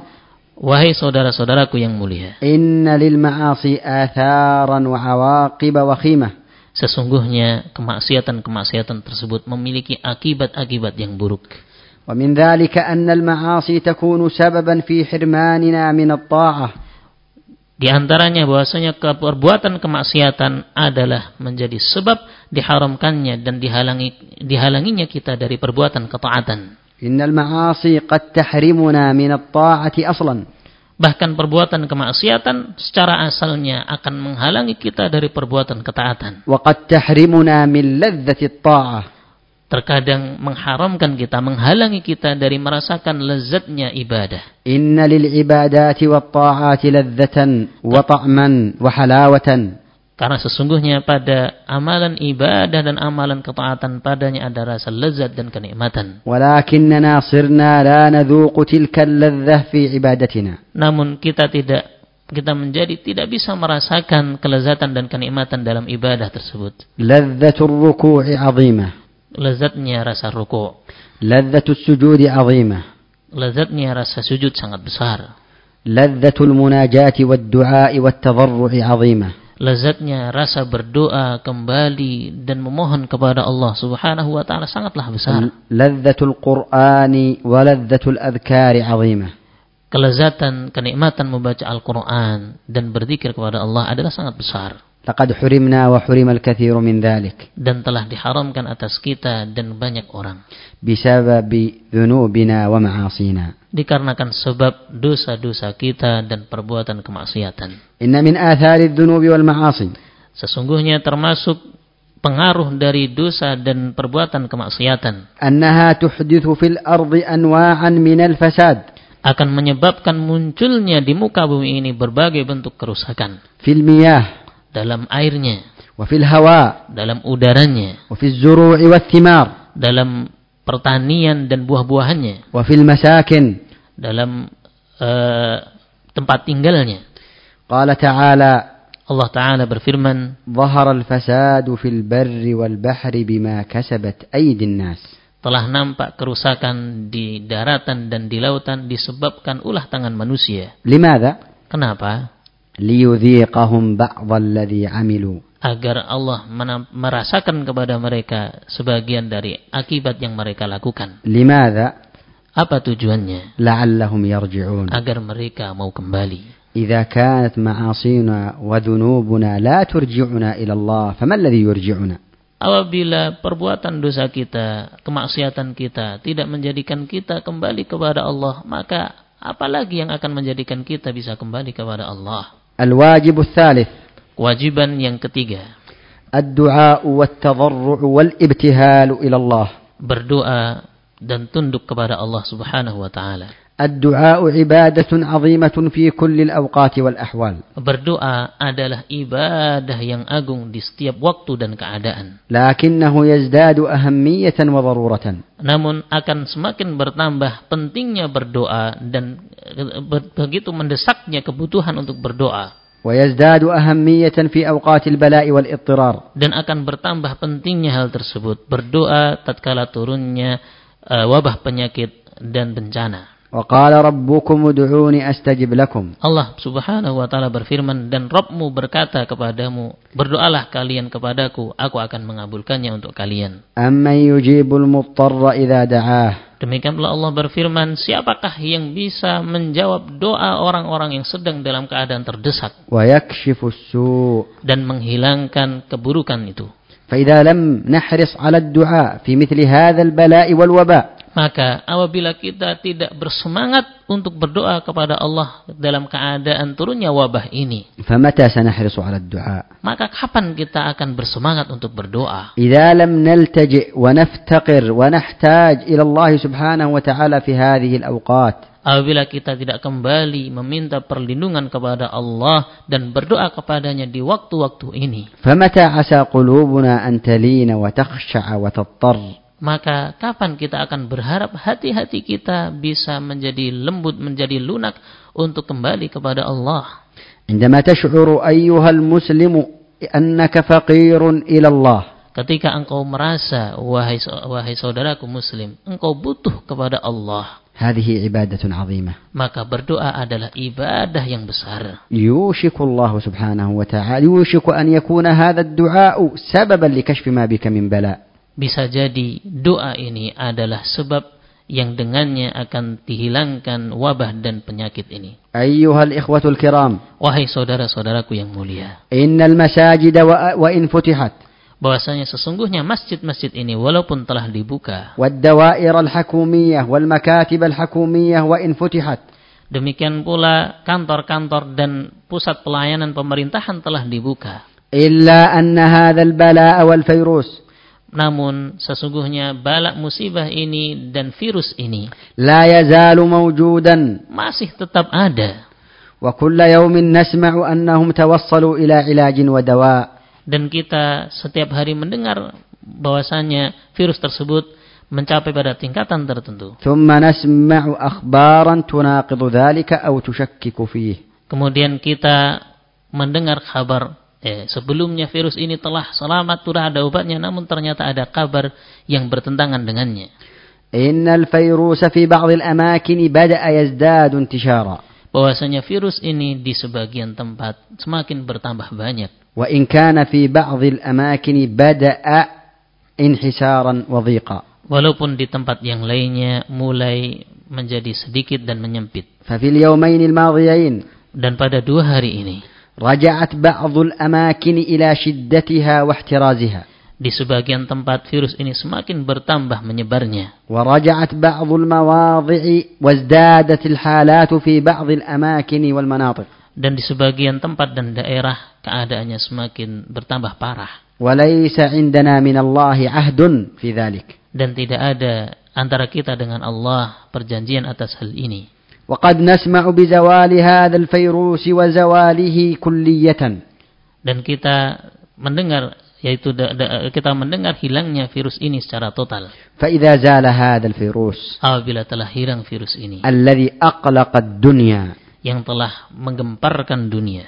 S1: Wahai saudara-saudaraku yang mulia,
S2: إن للمعاصي آثارا وعواقب وخيمة
S1: sesungguhnya kemaksiatan-kemaksiatan tersebut memiliki akibat-akibat yang buruk.
S2: ومن ذلك أن المعاصي تكون سببا في حرماننا من الطاعة
S1: Di antaranya bahwasanya ke- perbuatan kemaksiatan adalah menjadi sebab diharamkannya dan dihalangi dihalanginya kita dari perbuatan ketaatan.
S2: إن المعاصي قد تحرمنا من الطاعة أصلا
S1: Bahkan perbuatan kemaksiatan secara asalnya akan menghalangi kita dari perbuatan ketaatan.
S2: وقد تحرمنا من لذة الطاعة
S1: Terkadang mengharamkan kita, menghalangi kita dari merasakan lezatnya ibadah.
S2: إن للعبادات والطاعات لذة وطعما وحلاوة
S1: Karena sesungguhnya pada amalan ibadah dan amalan ketaatan padanya ada rasa lezat dan kenikmatan.
S2: ولكننا صرنا لا نذوق تلك اللذة في عبادتنا
S1: Namun kita tidak kita menjadi tidak bisa merasakan kelezatan dan kenikmatan dalam ibadah tersebut.
S2: لذة الركوع عظيمة
S1: Lezatnya rasa ruku,
S2: لذة السجود عظيمة
S1: lezatnya rasa sujud sangat besar.
S2: لذة المناجاة والدعاء والتضرع عظيمة
S1: Lezatnya rasa berdoa kembali dan memohon kepada Allah Subhanahu wa taala sangatlah besar.
S2: Hmm. لذة القرآن ولذة الأذكار عظيمة
S1: Kelezatan, kenikmatan membaca Al-Qur'an dan berzikir kepada Allah adalah sangat besar.
S2: لقد حرمنا وحرم الكثير من ذلك
S1: dan telah diharamkan atas kita dan banyak orang
S2: بسبب ذنوبنا ومعاصينا
S1: dikarenakan sebab dosa-dosa kita dan perbuatan kemaksiatan.
S2: إن من آثار الذنوب والمعاصي
S1: Sesungguhnya termasuk pengaruh dari dosa dan perbuatan kemaksiatan
S2: أنها تحدث في الأرض أنواعا من الفساد
S1: akan menyebabkan munculnya di muka bumi ini berbagai bentuk kerusakan
S2: في المياه
S1: dalam airnya,
S2: وفي الهواء
S1: dalam udaranya,
S2: وفي الزروع والثمار
S1: dalam pertanian dan buah-buahannya,
S2: وفي المساكن
S1: dalam eh, tempat tinggalnya.
S2: قال تعالى
S1: Allah Ta'ala berfirman,
S2: ظهر الفساد في البر والبحر بما كسبت أيدي الناس
S1: telah nampak kerusakan di daratan dan di lautan disebabkan ulah tangan manusia.
S2: لماذا؟
S1: Kenapa?
S2: ليذيقهم بعض الذي عملوا
S1: Agar Allah mena- merasakan kepada mereka sebagian dari akibat yang mereka lakukan.
S2: لماذا؟
S1: Apa tujuannya?
S2: لعلهم يرجعون
S1: Agar mereka mau kembali.
S2: إذا كانت معاصينا وذنوبنا لا ترجعنا إلى الله فما الذي يرجعنا؟
S1: Apabila perbuatan dosa kita, kemaksiatan kita tidak menjadikan kita kembali kepada Allah, maka apalagi yang akan menjadikan kita bisa kembali kepada Allah?
S2: الواجب الثالث
S1: Kewajiban yang ketiga,
S2: الدعاء والتضرع والابتهال إلى الله
S1: berdoa dan tunduk kepada Allah Subhanahu wa taala.
S2: الدعاء عبادة عظيمة في كل الأوقات والأحوال
S1: Berdoa adalah ibadah yang agung di setiap waktu dan keadaan.
S2: لكنه يزداد أهمية وضرورة
S1: Namun akan semakin bertambah pentingnya berdoa dan eh, be- begitu mendesaknya kebutuhan untuk berdoa
S2: ويزداد أهمية في أوقات البلاء والاضطرار
S1: dan akan bertambah pentingnya hal tersebut. Berdoa tatkala turunnya eh, wabah penyakit dan bencana.
S2: وقال ربكم ادعوني أستجب لكم
S1: Allah Subhanahu wa taala berfirman dan Rabbmu berkata kepadamu berdoalah kalian kepadaku aku akan mengabulkannya untuk kalian
S2: أمن يجيب المضطر إذا دعاه
S1: demikian pula Allah berfirman siapakah yang bisa menjawab doa orang-orang yang sedang dalam keadaan terdesak
S2: ويكشف السوء
S1: dan menghilangkan keburukan itu
S2: فإذا لم نحرص على الدعاء في مثل هذا البلاء والوباء
S1: maka apabila kita tidak bersemangat untuk berdoa kepada Allah dalam keadaan turunnya wabah ini
S2: فمتى سنحرص على الدعاء
S1: maka kapan kita akan bersemangat untuk berdoa
S2: إذا لم نلتجئ ونفتقر ونحتاج إلى الله سبحانه وتعالى في هذه الأوقات
S1: Apabila kita tidak kembali meminta perlindungan kepada Allah dan berdoa kepadanya di waktu-waktu ini,
S2: فمتى عسى قلوبنا أن تلين وتخشع وتضطر
S1: maka kapan kita akan berharap hati-hati kita bisa menjadi lembut, menjadi lunak untuk kembali kepada Allah?
S2: عندما تشعر أيها المسلم أنك فقير إلى الله
S1: Ketika engkau merasa, wahai, so- wahai saudaraku muslim, engkau butuh kepada Allah,
S2: هذه عبادة عظيمة
S1: maka berdoa adalah ibadah yang besar.
S2: يوشك الله سبحانه وتعالى يوشك أن يكون هذا الدعاء سببا لكشف ما بك من بلاء
S1: Bisa jadi doa ini adalah sebab yang dengannya akan dihilangkan wabah dan penyakit ini.
S2: أيها الإخوة الكرام
S1: Wahai saudara-saudaraku yang mulia,
S2: إن المساجد وأ- وإن فتحت
S1: bahwasanya sesungguhnya masjid-masjid ini walaupun telah dibuka,
S2: والدوائر الحكومية والمكاتب الحكومية وإن فتحت
S1: demikian pula kantor-kantor dan pusat pelayanan pemerintahan telah dibuka.
S2: إلا أن هذا البلاء والفيروس
S1: Namun sesungguhnya balak musibah ini dan virus ini
S2: لا يزال موجودا
S1: masih tetap ada
S2: وكل يوم نسمع أنهم توصلوا إلى علاج ودواء
S1: dan kita setiap hari mendengar bahwasanya virus tersebut mencapai pada tingkatan tertentu.
S2: ثم نسمع أخبارا تناقض ذلك أو تشكك فيه
S1: Kemudian kita mendengar kabar eh, sebelumnya virus ini telah selamat sudah ada obatnya namun ternyata ada kabar yang bertentangan dengannya
S2: إن الفيروس في بعض الأماكن بدأ يزداد انتشارا
S1: bahwasanya virus ini di sebagian tempat semakin bertambah banyak
S2: وإن كان في بعض الأماكن بدأ انحسارا وضيقا
S1: walaupun di tempat yang lainnya mulai menjadi sedikit dan menyempit
S2: ففي اليومين الماضيين
S1: dan pada dua hari ini
S2: رجعت بعض الأماكن إلى شدتها واحترازها
S1: di sebagian tempat virus ini semakin bertambah menyebarnya
S2: ورجعت بعض المواضع وازدادت الحالات في بعض الأماكن والمناطق
S1: dan di sebagian tempat dan daerah keadaannya semakin bertambah parah
S2: وليس عندنا من الله عهد في ذلك
S1: dan tidak ada antara kita dengan Allah perjanjian atas hal ini.
S2: وقد نسمع بزوال هذا الفيروس وزواله كلية
S1: Dan kita mendengar yaitu da- da- kita mendengar hilangnya virus ini secara total.
S2: فإذا زال هذا الفيروس
S1: Apabila telah hilang virus ini
S2: الذي أقلق الدنيا
S1: yang telah menggemparkan dunia,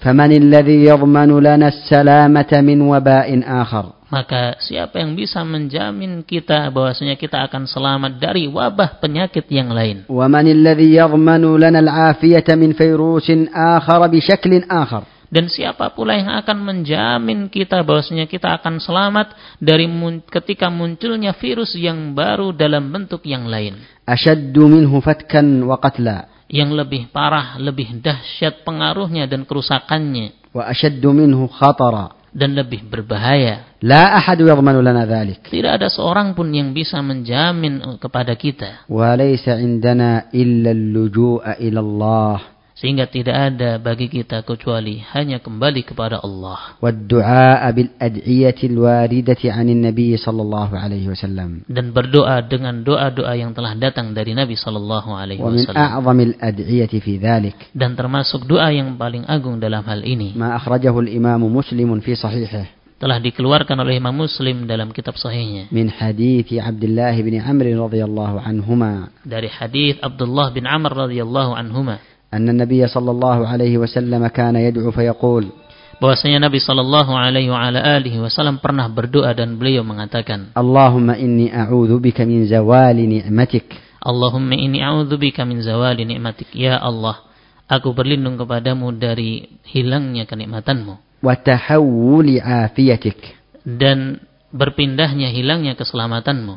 S2: فمن الذي يضمن لنا السلامة من وباء آخر
S1: Maka siapa yang bisa menjamin kita bahwasanya kita akan selamat dari wabah penyakit yang lain?
S2: ومن الذي يضمن لنا العافية من فيروس آخر بشكل آخر
S1: Dan siapa pula yang akan menjamin kita bahwasanya kita akan selamat dari mun- ketika munculnya virus yang baru dalam bentuk yang lain?
S2: أشد منه فتكا وقتلا
S1: Yang lebih parah, lebih dahsyat pengaruhnya dan kerusakannya
S2: وأشد منه خطرا
S1: dan lebih berbahaya.
S2: لا أحد يضمن لنا ذلك
S1: Tidak ada seorang pun yang bisa menjamin eh, kepada kita.
S2: وليس عندنا إلا اللجوء إلى الله
S1: Sehingga tidak ada bagi kita kecuali hanya kembali kepada Allah.
S2: والدعاء بالأدعية الواردة عن النبي صلى الله عليه وسلم
S1: Dan berdoa dengan doa-doa yang telah datang dari Nabi Shallallahu Alaihi
S2: ومن
S1: Wasallam.
S2: أعظم الأدعية في ذلك
S1: Dan termasuk doa yang paling agung dalam hal ini.
S2: ما أخرجه الإمام مسلم في صحيحه
S1: Telah dikeluarkan oleh Imam Muslim dalam kitab sahihnya.
S2: من حديث عبد الله بن عمرو رضي الله عنهما
S1: Dari hadis Abdullah bin Amr radhiyallahu anhuma.
S2: أن النبي صلى الله عليه وسلم كان يدعو فيقول
S1: Bahwasanya Nabi Shallallahu Alaihi wa ala alihi Wasallam pernah berdoa dan beliau mengatakan,
S2: اللهم إني أعوذ بك من زوال نعمتك
S1: Allahumma inni a'udzubika min zawali nikmatik ya Allah aku berlindung kepadamu dari hilangnya kenikmatanmu
S2: وتحول عافيتك
S1: dan berpindahnya hilangnya keselamatanmu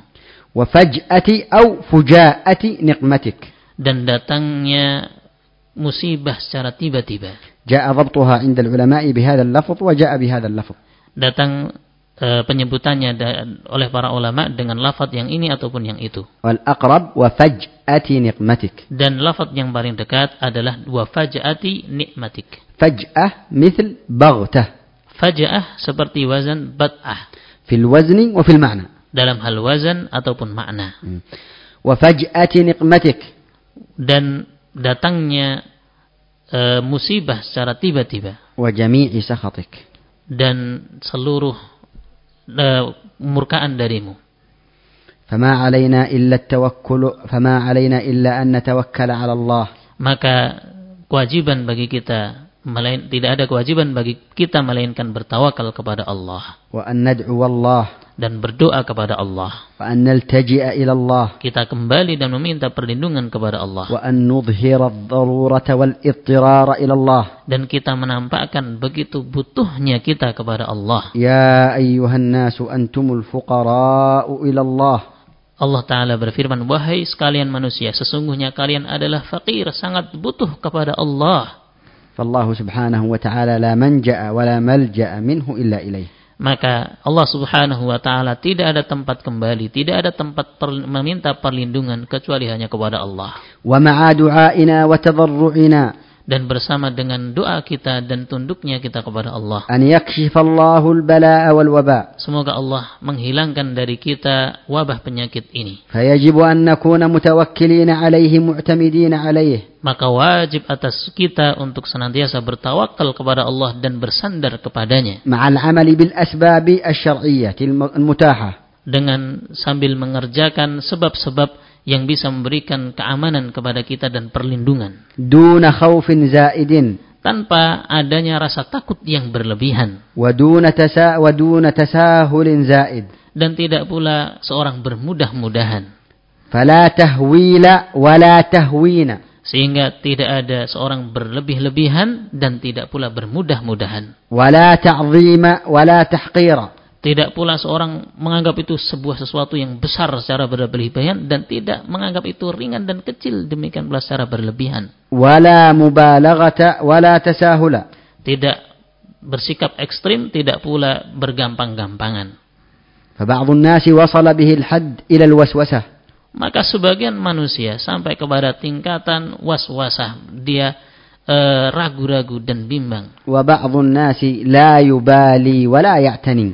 S2: وفجأة أو فجاءة نقمتك
S1: dan datangnya musibah secara tiba-tiba
S2: جاء ضبطها عند العلماء بهذا اللفظ وجاء بهذا اللفظ
S1: datang eh, penyebutannya da- oleh para ulama dengan lafadz yang ini ataupun yang itu
S2: والأقرب وفجأة نقمتك
S1: dan lafadz yang paling dekat adalah dua faja'ati nikmatik
S2: فجأة مثل بغتة
S1: faja'ah seperti wazan bat'ah
S2: في الوزن وفي المعنى
S1: dalam hal wazan ataupun makna
S2: وفجأة نقمتك
S1: dan datangnya eh, musibah secara tiba-tiba
S2: وجميع سخطك
S1: dan seluruh eh, murkaan darimu.
S2: فما علينا إلا التوكل فما علينا إلا أن نتوكل على الله
S1: Maka kewajiban bagi kita melain tidak ada kewajiban bagi kita melainkan bertawakal kepada Allah
S2: وأن ندعو الله
S1: dan berdoa kepada Allah.
S2: وأن نلتجئ إلى الله
S1: Kita kembali dan meminta perlindungan kepada Allah
S2: وأن نظهر الضرورة والاضطرار إلى الله
S1: dan kita menampakkan begitu butuhnya kita kepada Allah.
S2: يا أيها الناس أنتم الفقراء إلى الله
S1: Allah Ta'ala berfirman, Wahai sekalian manusia, sesungguhnya kalian adalah fakir, sangat butuh kepada Allah.
S2: فالله سبحانه وتعالى لا منجأ ولا ملجأ منه إلا إليه
S1: Maka Allah Subhanahu wa Ta'ala tidak ada tempat kembali, tidak ada tempat per- meminta perlindungan kecuali hanya kepada Allah.
S2: ومع دعائنا وتضرعنا
S1: Dan bersama dengan doa kita dan tunduknya kita kepada Allah.
S2: أن يكشف الله البلاء والوباء
S1: Semoga Allah menghilangkan dari kita wabah penyakit ini.
S2: فيجب أن نكون متوكلين عليه معتمدين عليه
S1: Maka wajib atas kita untuk senantiasa bertawakal kepada Allah dan bersandar kepadanya.
S2: مع العمل بالأسباب الشرعية الم- المتاحة
S1: dengan sambil mengerjakan sebab-sebab yang bisa memberikan keamanan kepada kita dan perlindungan
S2: دون خوف زائد
S1: tanpa adanya rasa takut yang berlebihan
S2: ودون تسا ودون تساهل زائد
S1: dan tidak pula seorang bermudah-mudahan
S2: فلا تهويل ولا تهوين
S1: sehingga tidak ada seorang berlebih-lebihan dan tidak pula bermudah-mudahan
S2: ولا تعظيم ولا تحقير
S1: tidak pula seorang menganggap itu sebuah sesuatu yang besar secara berlebihan dan tidak menganggap itu ringan dan kecil demikian pula secara berlebihan
S2: ولا مبالغة ولا تساهل
S1: tidak bersikap ekstrim, tidak pula bergampang-gampangan.
S2: فبعض الناس وصل به الحد إلى الوسوسة
S1: Maka sebagian manusia sampai kepada tingkatan waswasah, dia eh, ragu-ragu dan bimbang.
S2: وبعض الناس لا يبالي ولا يعتني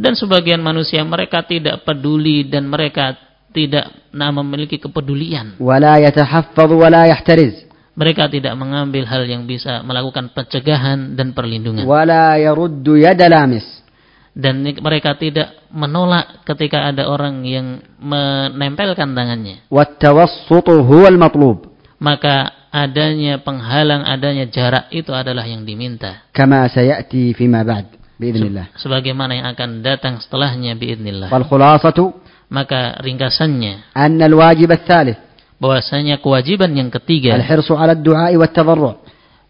S1: Dan sebagian manusia mereka tidak peduli dan mereka tidak nah, memiliki kepedulian.
S2: ولا يتحفظ ولا يحترز
S1: Mereka tidak mengambil hal yang bisa melakukan pencegahan dan perlindungan.
S2: ولا يرد يد لامس
S1: Dan mereka tidak menolak ketika ada orang yang menempelkan tangannya.
S2: والتوسط هو المطلوب
S1: maka adanya penghalang, adanya jarak itu adalah yang diminta.
S2: كما سيأتي فيما بعد بإذن الله
S1: Sebagaimana yang akan datang setelahnya biidnillah.
S2: والخلاصة
S1: Maka ringkasannya
S2: أن الواجب الثالث
S1: bahwasanya kewajiban yang ketiga
S2: الحرص على الدعاء والتضرع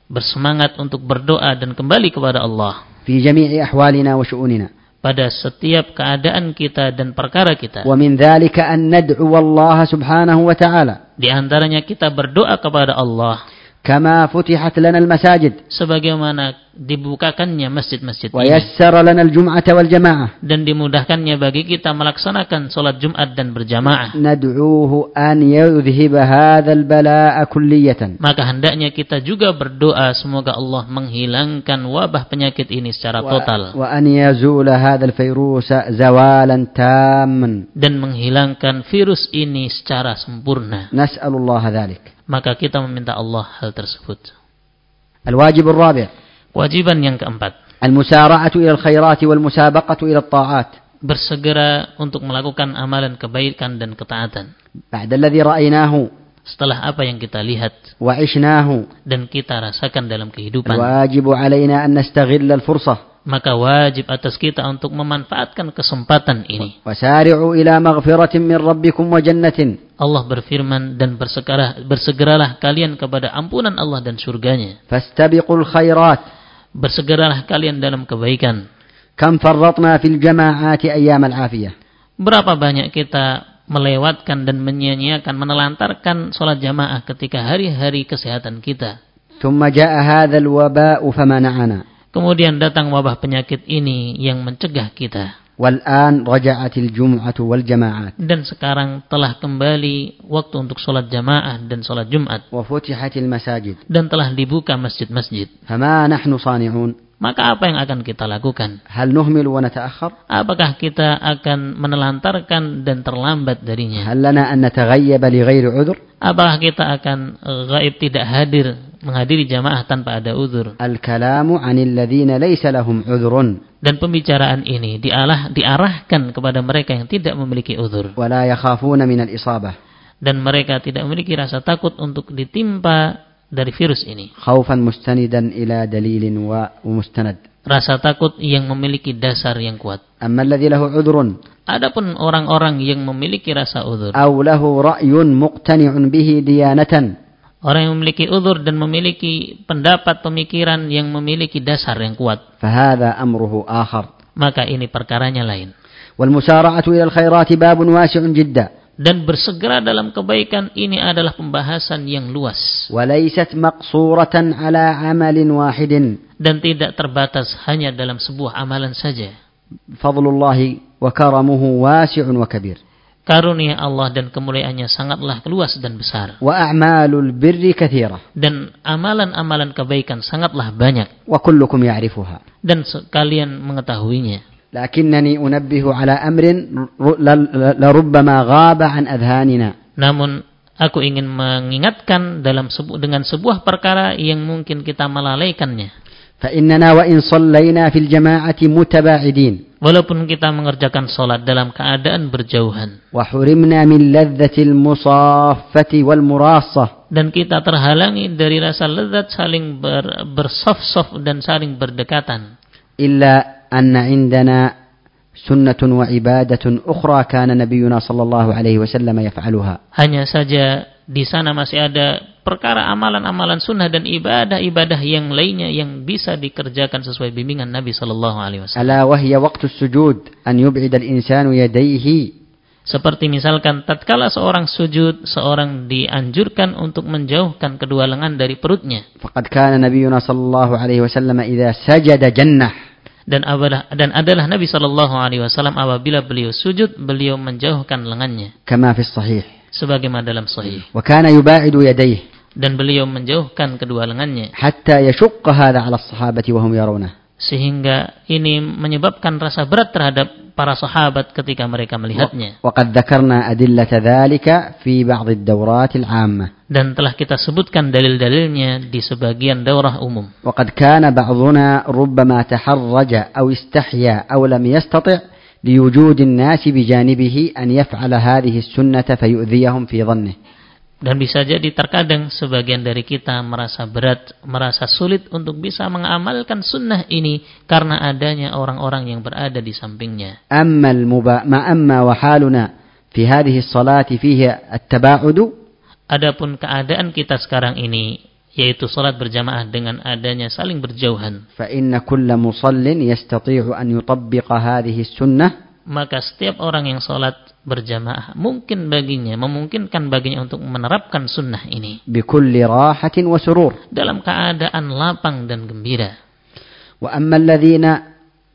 S1: bersemangat untuk berdoa dan kembali kepada Allah
S2: في جميع أحوالنا وشؤوننا
S1: pada setiap keadaan kita dan perkara kita.
S2: ومن ذلك أن ندعو الله سبحانه وتعالى
S1: Di antaranya kita berdoa kepada Allah
S2: كما فتحت لنا المساجد
S1: sebagaimana dibukakannya masjid-masjid ini
S2: ويسر لنا الجمعة والجماعة
S1: dan dimudahkannya bagi kita melaksanakan sholat Jumat dan berjamaah.
S2: ندعوه أن يذهب هذا البلاء كلية
S1: Maka hendaknya kita juga berdoa semoga Allah menghilangkan wabah penyakit ini secara total
S2: وأن يزول هذا الفيروس زوالا تاما
S1: dan menghilangkan virus ini secara sempurna.
S2: نسأل الله ذلك
S1: Maka kita meminta Allah hal tersebut.
S2: الواجب الرابع
S1: Kewajiban yang keempat,
S2: المسارعة إلى الخيرات والمسابقة إلى الطاعات
S1: bersegera untuk melakukan amalan kebaikan dan ketaatan.
S2: بعد الذي رأيناه
S1: Setelah apa yang kita lihat
S2: وعشناه
S1: dan kita rasakan dalam kehidupan,
S2: الواجب علينا أن نستغل الفرصة
S1: maka wajib atas kita untuk memanfaatkan kesempatan ini.
S2: وسارعوا إلى مغفرة من ربكم وجنة
S1: Allah berfirman dan bersegera, bersegeralah kalian kepada ampunan Allah dan surganya.
S2: فاستبقوا الخيرات
S1: Bersegeralah kalian dalam kebaikan.
S2: كم فرطنا في الجماعات أيام العافية
S1: Berapa banyak kita melewatkan dan menyia-nyiakan, menelantarkan sholat jamaah ketika hari-hari kesehatan kita.
S2: ثم جاء هذا الوباء فمنعنا
S1: Kemudian datang wabah penyakit ini yang mencegah kita.
S2: والآن رجعت الجمعة والجماعات
S1: Dan sekarang telah kembali waktu untuk sholat jamaah dan sholat jumat.
S2: وفتحت المساجد
S1: Dan telah dibuka masjid-masjid.
S2: فما نحن صانعون
S1: Maka apa yang akan kita lakukan?
S2: هل نهمل ونتأخر
S1: Apakah kita akan menelantarkan dan terlambat darinya?
S2: هل لنا أن نتغيب لغير عذر
S1: Apakah kita akan eh, gaib tidak hadir menghadiri jamaah tanpa ada uzur?
S2: الكلام عن الذين ليس لهم عذر
S1: Dan pembicaraan ini dialah diarahkan kepada mereka yang tidak memiliki uzur
S2: ولا يخافون من الإصابة
S1: dan mereka tidak memiliki rasa takut untuk ditimpa dari virus ini.
S2: خوفا مستندا إلى دليل و- ومستند
S1: Rasa takut yang memiliki dasar yang kuat.
S2: أما الذي له عذر
S1: Adapun orang-orang yang memiliki rasa uzur,
S2: أو له رأي مقتنع به ديانة
S1: orang yang memiliki uzur dan memiliki pendapat pemikiran yang memiliki dasar yang kuat,
S2: فهذا أمره آخر
S1: maka ini perkaranya lain.
S2: والمسارعة إلى الخيرات باب واسع جدا
S1: Dan bersegera dalam kebaikan ini adalah pembahasan yang luas
S2: وليست مقصورة على عمل واحد
S1: dan tidak terbatas hanya dalam sebuah amalan saja.
S2: فضل الله وكرمه واسع وكبير
S1: Karunia Allah dan kemuliaannya sangatlah luas dan besar.
S2: وأعمال البر كثيرة
S1: Dan amalan-amalan kebaikan sangatlah banyak
S2: وكلكم يعرفها
S1: dan se- kalian mengetahuinya.
S2: لكنني أنبه على أمر ر- ل- لربما غاب عن أذهاننا
S1: Namun aku ingin mengingatkan dalam sebu- dengan sebuah perkara yang mungkin kita melalaikannya.
S2: فإننا وإن صلينا في الجماعة متباعدين
S1: Walaupun kita mengerjakan sholat dalam keadaan berjauhan
S2: وحرمنا من لذة المصافة والمراصة
S1: dan kita terhalangi dari rasa lezat saling ber, bersof-sof dan saling berdekatan.
S2: إلا أن عندنا سنة وعبادة أخرى كان نبينا صلى الله عليه وسلم يفعلها
S1: Hanya saja di sana masih ada perkara amalan-amalan sunnah dan ibadah-ibadah yang lainnya yang bisa dikerjakan sesuai bimbingan Nabi Shallallahu Alaihi Wasallam.
S2: ألا وهي وقت السجود أن يبعد الإنسان يديه
S1: Seperti misalkan tatkala seorang sujud, seorang dianjurkan untuk menjauhkan kedua lengan dari perutnya.
S2: فقد كان نبينا صلى الله عليه وسلم إذا سجد جنح
S1: Dan adalah, dan adalah Nabi Shallallahu Alaihi Wasallam apabila beliau sujud, beliau menjauhkan lengannya,
S2: كما في الصحيح
S1: sebagaimana dalam Sahih.
S2: وكان يباعد يديه
S1: Dan beliau menjauhkan kedua lengannya,
S2: حتى يشق هذا على الصحابة وهم يرونه
S1: sehingga ini menyebabkan rasa berat terhadap para sahabat ketika mereka melihatnya.
S2: وقد ذكرنا أدلة ذلك في بعض الدورات العامة
S1: Dan telah kita sebutkan dalil-dalilnya di sebagian daurah umum.
S2: وقد كان بعضنا ربما تحرج أو استحيا أو لم يستطع لوجود الناس بجانبه أن يفعل هذه السنة فيؤذيهم في ظنه
S1: Dan bisa jadi terkadang sebagian dari kita merasa berat, merasa sulit untuk bisa mengamalkan sunnah ini karena adanya orang-orang yang berada di sampingnya.
S2: أما المبا... ما أما وحالنا في هذه الصلاة فيه التباعد
S1: Adapun keadaan kita sekarang ini, yaitu sholat berjamaah dengan adanya saling berjauhan,
S2: فإن كل مصل يستطيع أن يطبق هذه السنة
S1: maka setiap orang yang sholat berjamaah mungkin baginya, memungkinkan baginya untuk menerapkan sunnah ini
S2: بكل راحة وسرور
S1: dalam keadaan lapang dan gembira.
S2: وأما الذين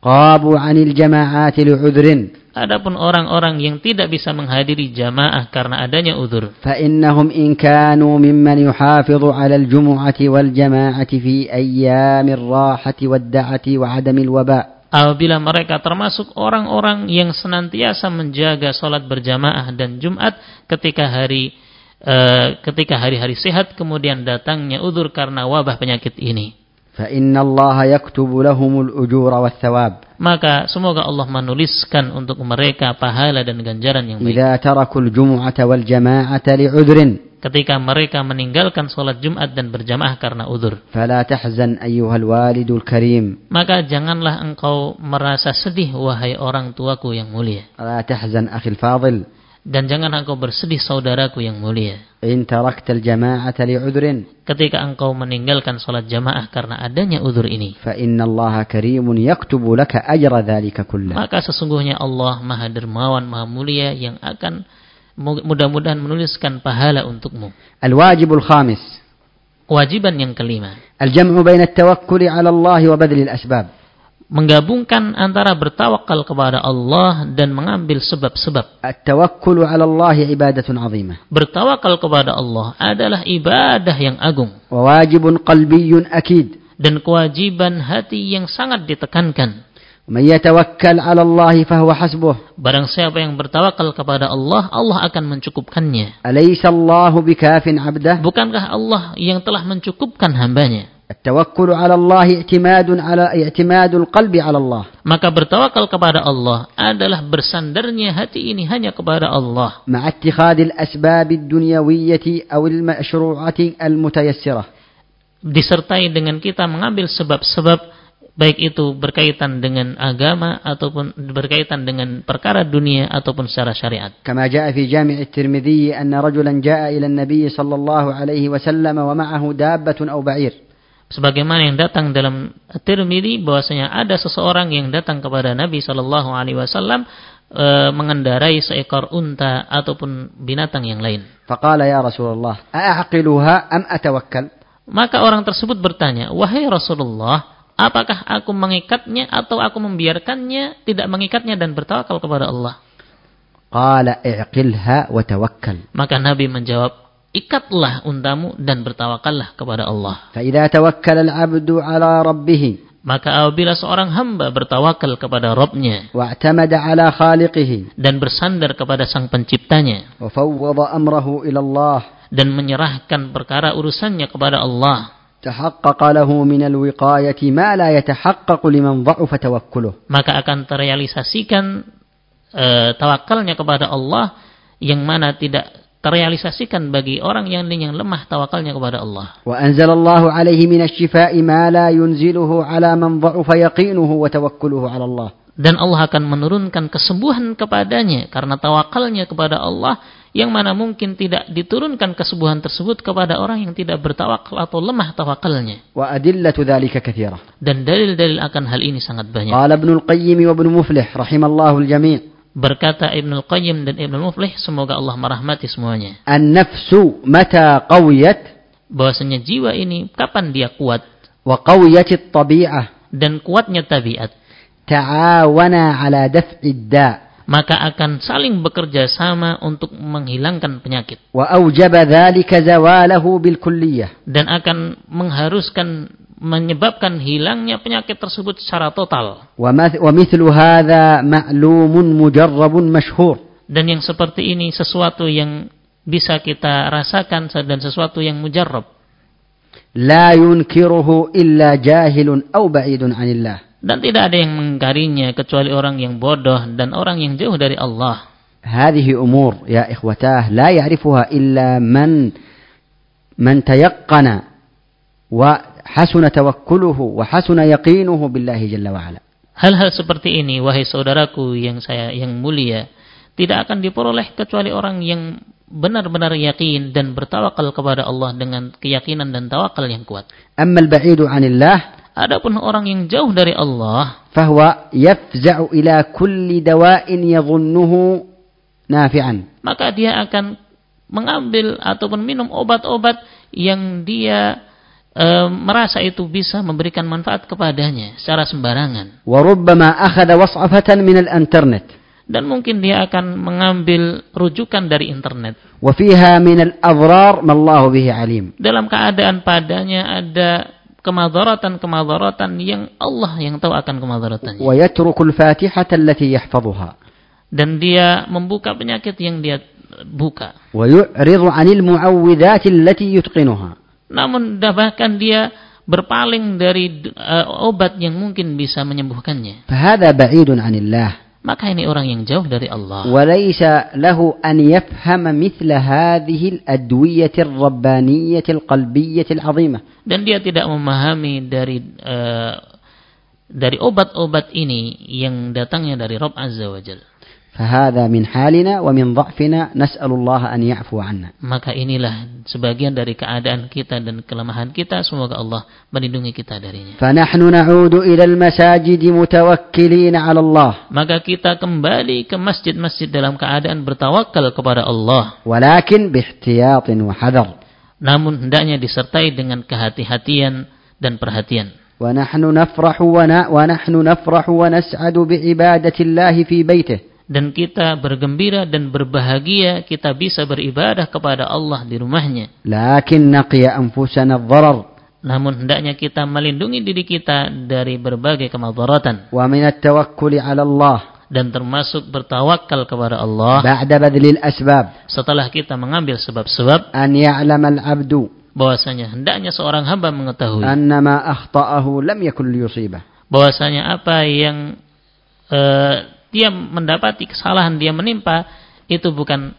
S2: غابوا عن الجماعات لعذر
S1: Adapun orang-orang yang tidak bisa menghadiri jamaah karena adanya udur,
S2: فإنهم إن كانوا ممن يحافظ على الجمعة والجماعة في أيام الراحة والدعة وعدم الوباء
S1: apabila mereka termasuk orang-orang yang senantiasa menjaga sholat berjamaah dan Jumat ketika hari eh, ketika hari-hari sehat kemudian datangnya udur karena wabah penyakit ini.
S2: فإن الله يكتب لهم الأجور والثواب
S1: Maka semoga Allah menuliskan untuk mereka pahala dan ganjaran yang baik.
S2: إذا تركوا الجمعة والجماعة لعذر
S1: Ketika mereka meninggalkan sholat Jumat dan berjamaah karena udur.
S2: فلا تحزن أيها الوالد الكريم
S1: Maka janganlah engkau merasa sedih wahai orang tuaku yang mulia.
S2: لا تحزن أخي الفاضل
S1: Dan janganlah engkau bersedih saudaraku yang mulia.
S2: إن تركت الجماعة لعذر
S1: Ketika engkau meninggalkan sholat jamaah karena adanya udur ini.
S2: فإن الله كريم يكتب لك أجر ذلك كله
S1: Maka sesungguhnya Allah maha dermawan, maha mulia yang akan mu- mudah-mudahan menuliskan pahala untukmu.
S2: الواجب الخامس
S1: Kewajiban yang kelima.
S2: الجمع بين التوكل على الله وبذل الأسباب
S1: Menggabungkan antara bertawakal kepada Allah dan mengambil sebab-sebab.
S2: التوكل على الله عبادة عظيمة
S1: Bertawakal kepada Allah adalah ibadah yang agung.
S2: وواجب قلبي أكيد
S1: dan kewajiban hati yang sangat ditekankan.
S2: من يتوكل على الله فهو حسبه
S1: Barang siapa yang bertawakal kepada Allah, Allah akan mencukupkannya.
S2: أليس الله بكاف عبده
S1: Bukankah Allah yang telah mencukupkan hambanya?
S2: التوكل على الله اعتماد على اعتماد القلب على الله
S1: Maka bertawakal kepada Allah adalah bersandarnya hati ini hanya kepada Allah.
S2: مع اتخاذ الأسباب الدنيوية أو المشروعة المتيسرة
S1: Disertai dengan kita mengambil sebab-sebab baik itu berkaitan dengan agama ataupun berkaitan dengan perkara dunia ataupun secara syariat.
S2: كما جاء في جامع الترمذي أن رجلا جاء إلى النبي صلى الله عليه وسلم ومعه دابة أو بعير
S1: sebagaimana yang datang dalam Tirmidzi bahwasanya ada seseorang yang datang kepada Nabi Shallallahu alaihi wasallam eh, mengendarai seekor unta ataupun binatang yang lain.
S2: فقال يا رسول الله أأعقلها أم أتوكل
S1: Maka orang tersebut bertanya, "Wahai Rasulullah, apakah aku mengikatnya atau aku membiarkannya, tidak mengikatnya dan bertawakal kepada Allah?"
S2: قال اعقلها وتوكل
S1: Maka Nabi menjawab, "Ikatlah untamu dan bertawakallah kepada Allah."
S2: فإذا توكل العبد على ربه
S1: Maka apabila seorang hamba bertawakal kepada Robnya
S2: واعتمد على خالقه
S1: dan bersandar kepada Sang Penciptanya,
S2: وفوض أمره إلى الله
S1: dan menyerahkan perkara urusannya kepada Allah,
S2: تحقق له من الوقاية ما لا يتحقق لمن ضعف توكله
S1: maka akan terrealisasikan eh, tawakalnya kepada Allah yang mana tidak terrealisasikan bagi orang yang yang lemah tawakalnya kepada Allah.
S2: وأنزل الله عليه من الشفاء ما لا ينزله على من ضعف يقينه وتوكله على الله
S1: Dan Allah akan menurunkan kesembuhan kepadanya karena tawakalnya kepada Allah yang mana mungkin tidak diturunkan kesembuhan tersebut kepada orang yang tidak bertawakal atau lemah tawakalnya.
S2: وأدلة ذلك كثيرة
S1: Dan dalil-dalil akan hal ini sangat banyak.
S2: قال ابن القيم وابن مفلح رحم الله الجميع
S1: Berkata Ibnul Qayyim dan Ibnul Muflih, semoga Allah merahmati semuanya.
S2: النفس متى قويت
S1: bahwasanya jiwa ini kapan dia kuat
S2: وقويت الطبيعة
S1: dan kuatnya tabiat
S2: تعاونا على دفع الداء
S1: maka akan saling bekerja sama untuk menghilangkan penyakit
S2: وأوجب ذلك زواله بالكلية
S1: dan akan mengharuskan menyebabkan hilangnya penyakit tersebut secara total
S2: ومث- ومثل هذا معلوم مجرب مشهور
S1: dan yang seperti ini sesuatu yang bisa kita rasakan dan sesuatu yang mujarab
S2: لا ينكره إلا جاهل أو بعيد عن الله
S1: dan tidak ada yang mengingkarinya kecuali orang yang bodoh dan orang yang jauh dari Allah
S2: هذه أمور يا إخوتاه لا يعرفها إلا من من تيقن وحسن توكله وحسن يقينه بالله جل وعلا
S1: Hal-hal seperti ini, wahai saudaraku yang saya yang mulia, tidak akan diperoleh kecuali orang yang benar-benar yakin dan bertawakal kepada Allah dengan keyakinan dan tawakal yang kuat.
S2: أما البعيد عن الله
S1: Adapun orang yang jauh dari Allah,
S2: فهو يفزع إلى كل دواء يظنه نافعا
S1: maka dia akan mengambil ataupun minum obat-obat yang dia eh, merasa itu bisa memberikan manfaat kepadanya secara sembarangan.
S2: وربما أخذ وصعفة من الأنترنت
S1: Dan mungkin dia akan mengambil rujukan dari internet.
S2: وفيها من الأضرار ما الله به عليم
S1: Dalam keadaan padanya ada kemadaratan-kemadaratan yang Allah yang tahu akan kemadarotannya.
S2: ويترك الفاتحة التي يحفظها
S1: Dan dia membuka penyakit yang dia buka.
S2: ويعرض عن المعوذات التي يتقنها
S1: Namun dah bahkan dia berpaling dari eh, obat yang mungkin bisa menyembuhkannya.
S2: فهذا بعيد عن الله
S1: Maka ini orang yang jauh dari
S2: آه.
S1: Allah.
S2: وليس له أن يفهم مثل هذه الأدوية الربانية القلبية العظيمة
S1: Dan dia tidak memahami dari eh, dari obat-obat ini yang datangnya dari Rob Azza wa Jal.
S2: فهذا من حالنا ومن ضعفنا نسأل الله أن يعفو عنا
S1: Maka inilah sebagian dari keadaan kita dan kelemahan kita. Semoga Allah melindungi kita darinya.
S2: فنحن نعود إلى المساجد متوكلين على الله
S1: Maka kita kembali ke masjid-masjid dalam keadaan bertawakal kepada Allah.
S2: ولكن باحتياط وحذر
S1: Namun hendaknya disertai dengan kehati-hatian dan perhatian.
S2: ونحن نفرح ونا ونحن نفرح ونسعد بعبادة الله في بيته
S1: dan kita bergembira dan berbahagia kita bisa beribadah kepada Allah di rumahnya.
S2: لكن نقي أنفسنا الضرر
S1: Namun hendaknya kita melindungi diri kita dari berbagai kemadaratan
S2: ومن التوكل على الله
S1: dan termasuk bertawakal kepada Allah
S2: بعد بذل الأسباب
S1: setelah kita mengambil sebab-sebab
S2: أن يعلم العبد
S1: bahwasanya hendaknya seorang hamba mengetahui
S2: أن ما أخطأه لم يكن ليصيبه
S1: bahwasanya apa yang eh, dia mendapati kesalahan dia menimpa itu bukan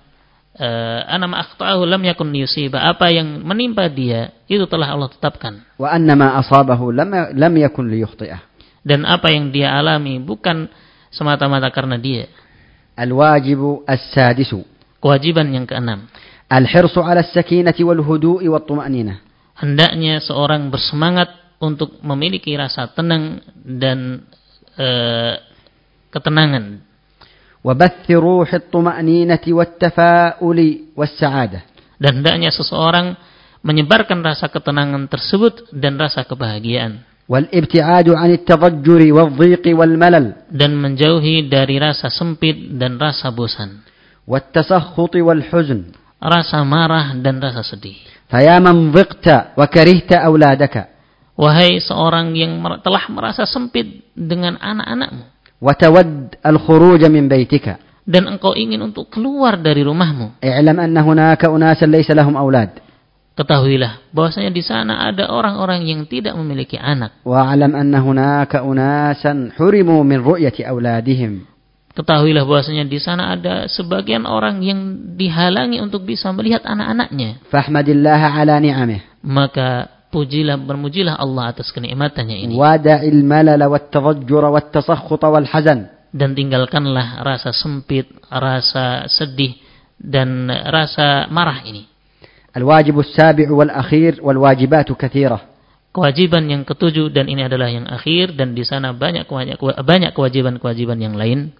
S1: eh, anama akhtahu lam yakun liyusiba apa yang menimpa dia itu telah Allah tetapkan
S2: وأن ما أصابه لم لم يكن ليخطئه
S1: dan apa yang dia alami bukan semata-mata karena dia.
S2: الواجب السادس
S1: Kewajiban yang keenam,
S2: الحرص على السكينة والهدوء والطمأنينة
S1: hendaknya seorang bersemangat untuk memiliki rasa tenang dan eh, ketenangan
S2: وبث روح الطمأنينة والتفاؤل والسعادة
S1: dan hendaknya seseorang menyebarkan rasa ketenangan tersebut dan rasa kebahagiaan
S2: والابتعاد عن التضجر والضيق والملل
S1: dan menjauhi dari rasa sempit dan rasa bosan,
S2: والتسخط والحزن
S1: rasa marah dan rasa sedih.
S2: فيا من ضقت وكرهت أولادك
S1: Wahai seorang yang mer- telah merasa sempit dengan anak-anakmu
S2: وتود الخروج من بيتك
S1: dan engkau ingin untuk keluar dari rumahmu,
S2: اعلم أن هناك أناسا ليس لهم أولاد
S1: ketahuilah bahwasanya di sana ada orang-orang yang tidak memiliki anak.
S2: واعلم أن هناك أناسا حرموا من رؤية أولادهم
S1: Ketahuilah bahwasanya di sana ada sebagian orang yang dihalangi untuk bisa melihat anak-anaknya.
S2: فاحمد الله على نعمه
S1: Maka pujilah bermujilah Allah atas kenikmatannya ini
S2: ودع الملل والتضجر والتسخط والحزن
S1: dan tinggalkanlah rasa sempit, rasa sedih dan rasa marah ini.
S2: الواجب السابع والأخير والواجبات كثيرة
S1: Kewajiban yang ketujuh dan ini adalah yang akhir dan di sana banyak banyak banyak kewajiban-kewajiban yang lain.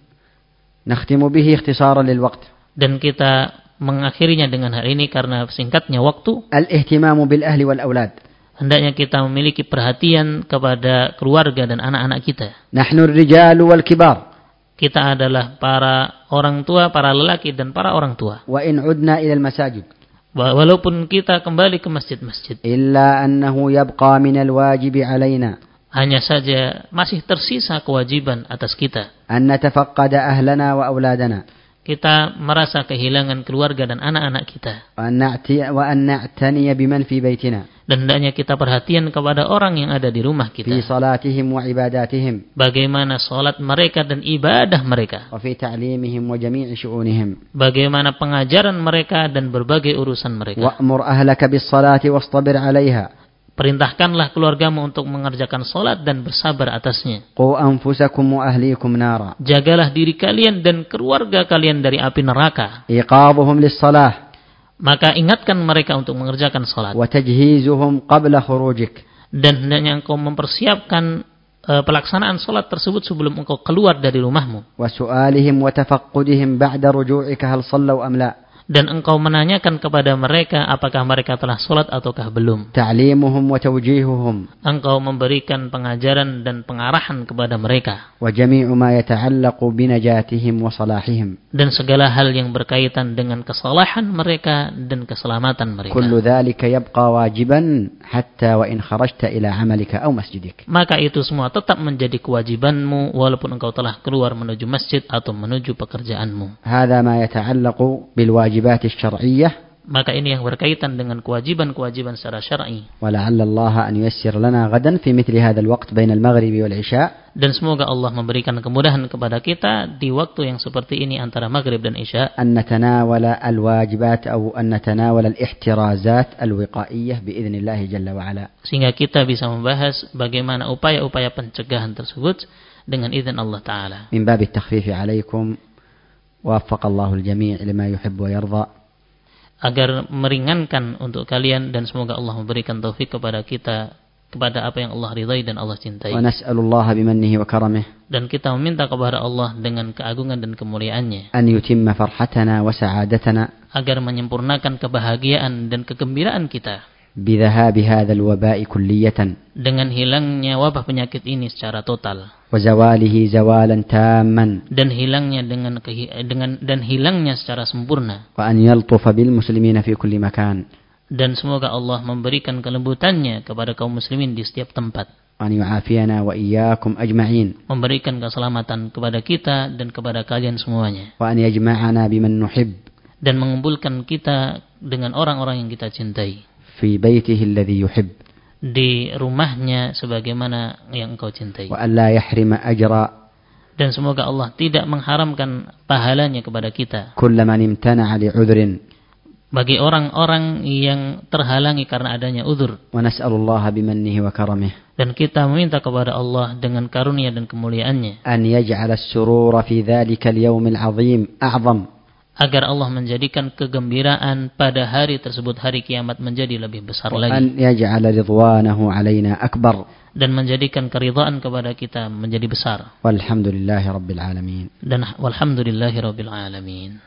S2: نختم به اختصارا للوقت
S1: dan kita mengakhirinya dengan hal ini karena singkatnya waktu
S2: الاهتمام بالأهل والأولاد
S1: hendaknya kita memiliki perhatian kepada keluarga dan anak-anak kita
S2: نحن الرجال والكبار
S1: kita adalah para orang tua para lelaki dan para orang tua
S2: وإن عدنا إلى المساجد
S1: Wa- walaupun kita kembali ke masjid-masjid
S2: إلا أنه يبقى من الواجب علينا
S1: hanya saja masih tersisa kewajiban atas kita
S2: أن نتفقد أهلنا وأولادنا
S1: kita merasa kehilangan keluarga dan anak-anak kita
S2: وأن, نعتي وأن نعتني بمن في بيتنا
S1: Dan hendaknya kita perhatian kepada orang yang ada di rumah
S2: في
S1: kita.
S2: صلاتهم وعباداتهم
S1: Bagaimana sholat mereka dan ibadah mereka.
S2: وفي تعليمهم وجميع شؤونهم
S1: Bagaimana pengajaran mereka dan berbagai urusan mereka.
S2: وأمر أهلك بالصلاة واصطبر عليها
S1: Perintahkanlah keluargamu untuk mengerjakan sholat dan bersabar atasnya.
S2: قوا أنفسكم وأهليكم نارا
S1: Jagalah diri kalian dan keluarga kalian dari api neraka.
S2: إيقاظهم للصلاة
S1: Maka ingatkan mereka untuk mengerjakan sholat.
S2: وتجهيزهم قبل خروجك
S1: Dan hendaknya engkau mempersiapkan eh, pelaksanaan sholat tersebut sebelum engkau keluar dari rumahmu.
S2: وسؤالهم وتفقدهم بعد رجوعك هل صلوا أم لا
S1: dan engkau menanyakan kepada mereka apakah mereka telah sholat ataukah belum.
S2: تعليمهم وتوجيههم
S1: Engkau memberikan pengajaran dan pengarahan kepada mereka
S2: وجميع ما يتعلق بنجاتهم وصلاحهم
S1: dan segala hal yang berkaitan dengan kesalahan mereka dan keselamatan mereka.
S2: كل ذلك يبقى واجبا حتى وإن خرجت إلى عملك أو مسجدك
S1: Maka itu semua tetap menjadi kewajibanmu walaupun engkau telah keluar menuju masjid atau menuju pekerjaanmu.
S2: هذا ما يتعلق بالواجبات الشرعية
S1: Maka ini yang berkaitan dengan kewajiban-kewajiban secara syar'i.
S2: ولعل الله أن ييسر لنا غدا في مثل هذا الوقت بين المغرب والعشاء
S1: Dan semoga Allah memberikan kemudahan kepada kita di waktu yang seperti ini antara maghrib dan isya
S2: أن نتناول الواجبات أو أن نتناول الاحترازات الوقائية بإذن الله جل وعلا
S1: sehingga kita bisa membahas bagaimana upaya-upaya pencegahan tersebut dengan izin Allah Ta'ala.
S2: من باب التخفيف عليكم ووفق الله الجميع لما يحب ويرضى
S1: Agar meringankan untuk kalian dan semoga Allah memberikan taufik kepada kita kepada apa yang Allah ridhai dan Allah cintai.
S2: ونسأل الله بمنه وكرمه
S1: Dan kita meminta kepada Allah dengan keagungan dan kemuliaannya.
S2: أن يتم فرحتنا وسعادتنا
S1: Agar menyempurnakan kebahagiaan dan kegembiraan kita.
S2: بذهاب هذا الوباء كلية
S1: Dengan hilangnya wabah penyakit ini secara total.
S2: وزواله زوالا تاما
S1: Dan hilangnya dengan, kehi- dengan dan hilangnya secara sempurna.
S2: وأن يلطف بالمسلمين في كل مكان
S1: dan semoga Allah memberikan kelembutannya kepada kaum muslimin di setiap tempat
S2: وأن يعافينا وإياكم أجمعين
S1: memberikan keselamatan kepada kita dan kepada kalian semuanya
S2: وأن يجمعنا بمن نحب
S1: dan mengumpulkan kita dengan orang-orang yang kita cintai
S2: في بيته الذي يحب
S1: di rumahnya sebagaimana yang engkau cintai
S2: وأن لا يحرم أجر
S1: dan semoga Allah tidak mengharamkan pahalanya kepada kita
S2: كل من امتنع لعذر
S1: bagi orang-orang yang terhalangi karena adanya uzur
S2: ونسأل الله بمنه وكرمه
S1: dan kita meminta kepada Allah dengan karunia dan kemuliaannya
S2: أن يجعل السرور في ذلك اليوم العظيم أعظم
S1: agar Allah menjadikan kegembiraan pada hari tersebut hari kiamat menjadi lebih besar lagi
S2: وأن يجعل رضوانه علينا أكبر
S1: dan menjadikan keridhaan kepada kita menjadi besar
S2: والحمد لله رب العالمين
S1: dan walhamdulillahi rabbil alamin